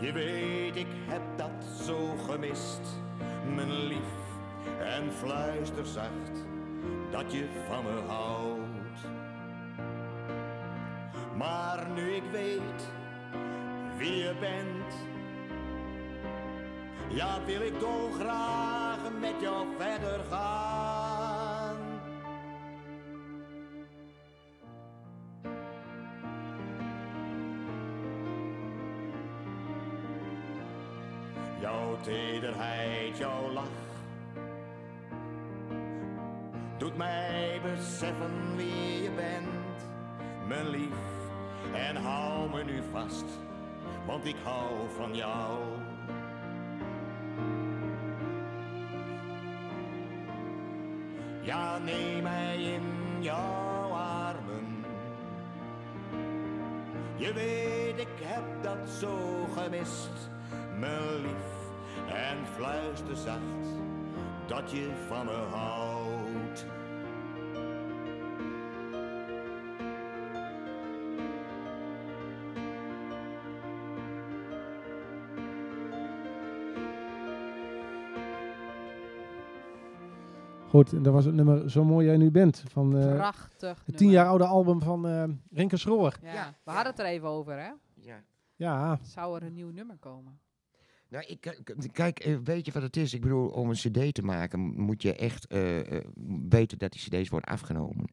Je weet, ik heb dat zo gemist, mijn lief. En fluister zacht dat je van me houdt. Maar nu ik weet wie je bent, ja, wil ik toch graag met jou verder gaan. Jouw tederheid, jouw lach Doet mij beseffen wie je bent Mijn lief En hou me nu vast Want ik hou van jou Ja, neem mij in jouw armen je weet, ik heb dat zo gemist, mijn lief. En fluister zacht dat je van me houdt.
Goed, en dat was het nummer Zo mooi jij nu bent. Van eh,
Prachtig.
het tien
nummer.
jaar oude album van eh Rinker Schroor.
Ja. We hadden het er even over, hè?
Ja.
Ja,
Zou er een nieuw nummer komen?
Nou, ik, k- k- kijk, eh, weet je wat het is? Ik bedoel, om een cd te maken m- moet je echt eh, eh, weten dat die cd's worden afgenomen.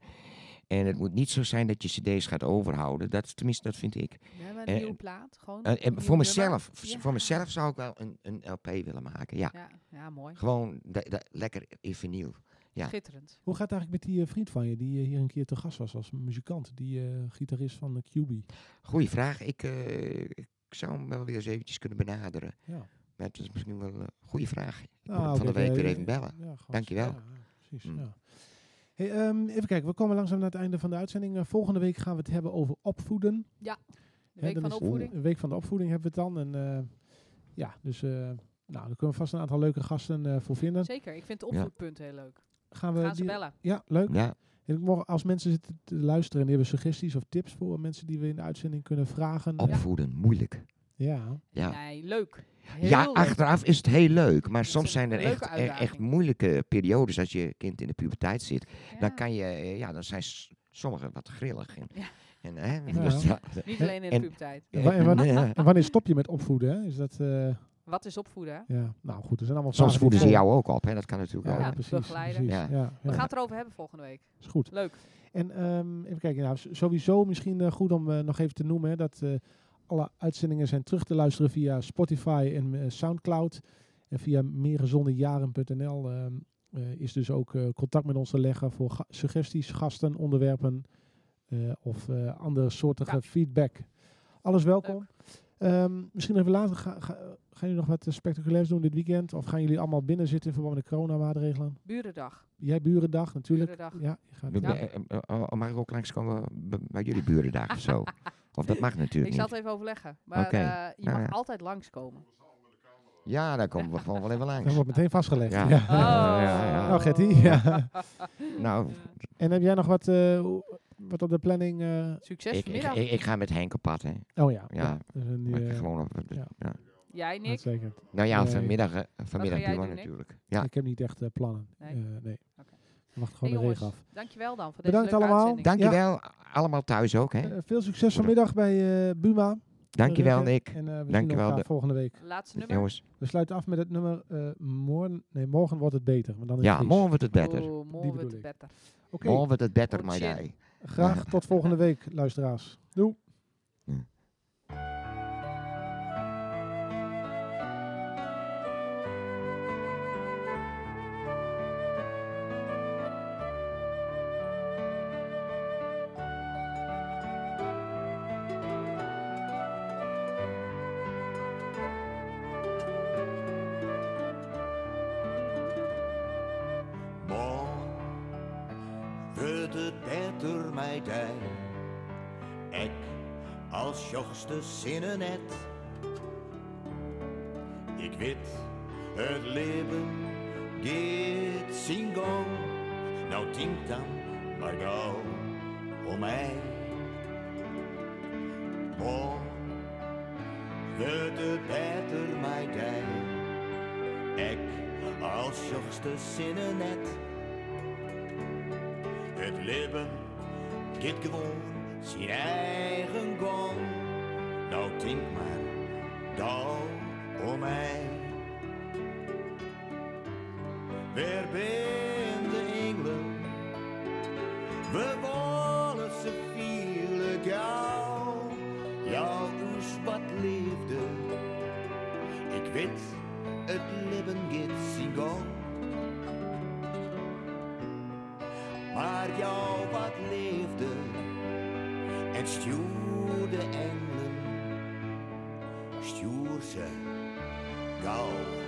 En het moet niet zo zijn dat je cd's gaat overhouden. Dat, is- tenminste, dat vind ik.
We hebben een
Eh,
nieuwe plaat. Gewoon
Eh,
een
en
nieuw
voor
Oh, nummer.
mezelf, v-
Ja.
voor mezelf zou ik wel een, een LP willen maken. Ja,
Ja, ja mooi.
gewoon da- da- lekker in vinyl. ja.
Schitterend.
hoe gaat het eigenlijk met die eh, vriend van je, die eh, hier een keer te gast was als muzikant, die eh, gitarist van de QB?
Goeie vraag. Ik, eh, ik zou hem wel weer eens eventjes kunnen benaderen.
Ja.
Maar het is misschien wel een goede vraag. Ik moet
Nou,
hem van de
oké,
week
eh,
weer even bellen.
Ja, gewoon-
Dankjewel.
Ja, ja, precies.
Mm.
Ja. Hey, ehm, even kijken, we komen langzaam naar het einde van de uitzending. Eh, volgende week gaan we het hebben over opvoeden.
De
Hè,
week
dat
van
is-
opvoeding.
Een week van de opvoeding hebben we het dan. En eh, ja, dus eh, nou, daar kunnen we vast een aantal leuke gasten eh, voor vinden.
Zeker. Ik vind het
Ja.
opvoedpunt heel leuk.
Gaan we
Gaan ze
die-
bellen.
Ja, leuk.
Ja,
En ik mocht, als mensen zitten te luisteren en die hebben suggesties of tips voor mensen die we in de uitzending kunnen vragen.
Oh.
eh,
opvoeden, moeilijk.
ja.
Ja.
Nee, leuk. Heel
Ja,
leuk.
achteraf is het heel leuk. Maar
is
soms
een
zijn er
leuke
echt, e- echt
uitdaging.
moeilijke periodes als je kind in de puberteit zit.
Ja.
Dan kan je, eh, ja, dan zijn s- sommigen wat grillig. En,
Ja.
en, hè,
Ja.
dus dat- eh,
Niet alleen in de
En-
puberteit.
En wa- en wa-
eh,
Ah.
En wanneer stop je met opvoeden? Hè? Is dat, eh,
Wat is opvoeden? hè?
ja. Nou goed, er zijn allemaal
Soms
vragen
voeden
die
ze
komen.
jou ook op, hè? dat kan natuurlijk
Ja,
ook.
Ja,
precies.
begeleider.
precies. Ja.
Ja.
Ja,
We gaan het erover hebben volgende week.
is goed.
Leuk.
En ehm, even kijken, nou, s- sowieso misschien eh, goed om eh, nog even te noemen hè, dat eh, alle uitzendingen zijn terug te luisteren via Spotify en eh, Soundcloud. En via meergezondejaren.nl ehm, eh, is dus ook eh, contact met ons te leggen voor ga- suggesties, gasten, onderwerpen eh, of eh, andere soortige
Ja.
feedback. Alles welkom. Ehm, misschien even later, ga, ga- gaan jullie nog wat eh, spectaculairs doen dit weekend? Of gaan jullie allemaal binnen zitten in verband met de coronamaatregelen?
Burendag.
Jij burendag natuurlijk.
Burendag.
Ja, je gaat
Ik ben- eh, eh, eh, oh, Mag ik ook langskomen bij- bij jullie burendag of zo? Of dat mag
Ik
natuurlijk
zal
niet.
het even overleggen. Maar
Oké.
eh, je mag
Ja.
altijd langskomen.
Ja, daar komen we gewoon wel even
[LAUGHS] Dat
langs.
wordt meteen vastgelegd.
Ja.
Ja.
Oh.
Ja, ja, ja.
Nou, Gertie. Ja.
Dus
Nou,
[LAUGHS] En heb jij nog wat, eh, hoe- wat op de planning? eh?
Succes
ik, ik,
vanmiddag.
ik- ik ga met Henk op pad, hè.
Oh ja.
Ja,
Dus een,
Maar ik ga
eh,
gewoon op,
ja.
ja.
Jij, Nick?
uitstekend.
Nou ja,
Nee.
vanmiddag, eh, vanmiddag
jij
doen we
doen, Nick?
natuurlijk. Ja,
Ik heb niet echt eh, plannen.
Nee.
Nee. nee.
Oké.
Ik wacht
Hey,
gewoon de
jongens,
regen af.
dankjewel dan voor deze
Bedankt
leuke
allemaal.
uitzending.
dankjewel. Allemaal thuis ook, hè.
Eh, veel succes vanmiddag bij eh, Buma.
Dankjewel,
Rutger.
Nick.
En eh, we zien
Dankjewel,
elkaar
de-
volgende week.
Laatste nummer.
Jongens,
We sluiten af met het nummer eh, morgen, nee, morgen wordt het beter. Maar dan in het
ja,
Fries.
morgen wordt het beter.
Oh,
Die
mooi
bedoel
wordt
ik.
het beter.
Oké,
Morgen wordt het beter, my
Goed zin.
day.
graag tot volgende week, luisteraars. Doei.
Morgen wordt het beter, mij dij. Ik als jongste zinnen net. Ik weet, het leven geht singo. Nou tink dan, maar gauw om mij. Morgen wordt het beter, mij dij. Ik als jongste zinnen net. Het leven gaat gewoon zijn eigen gang. Nou denk maar daar om mij. Weer ben de engelen. We willen ze vielen jou. Jouw oes wat liefde. Ik weet, het leven gaat zijn gang. Maar jou wat leefde en stuurde engelen, stuur ze gauw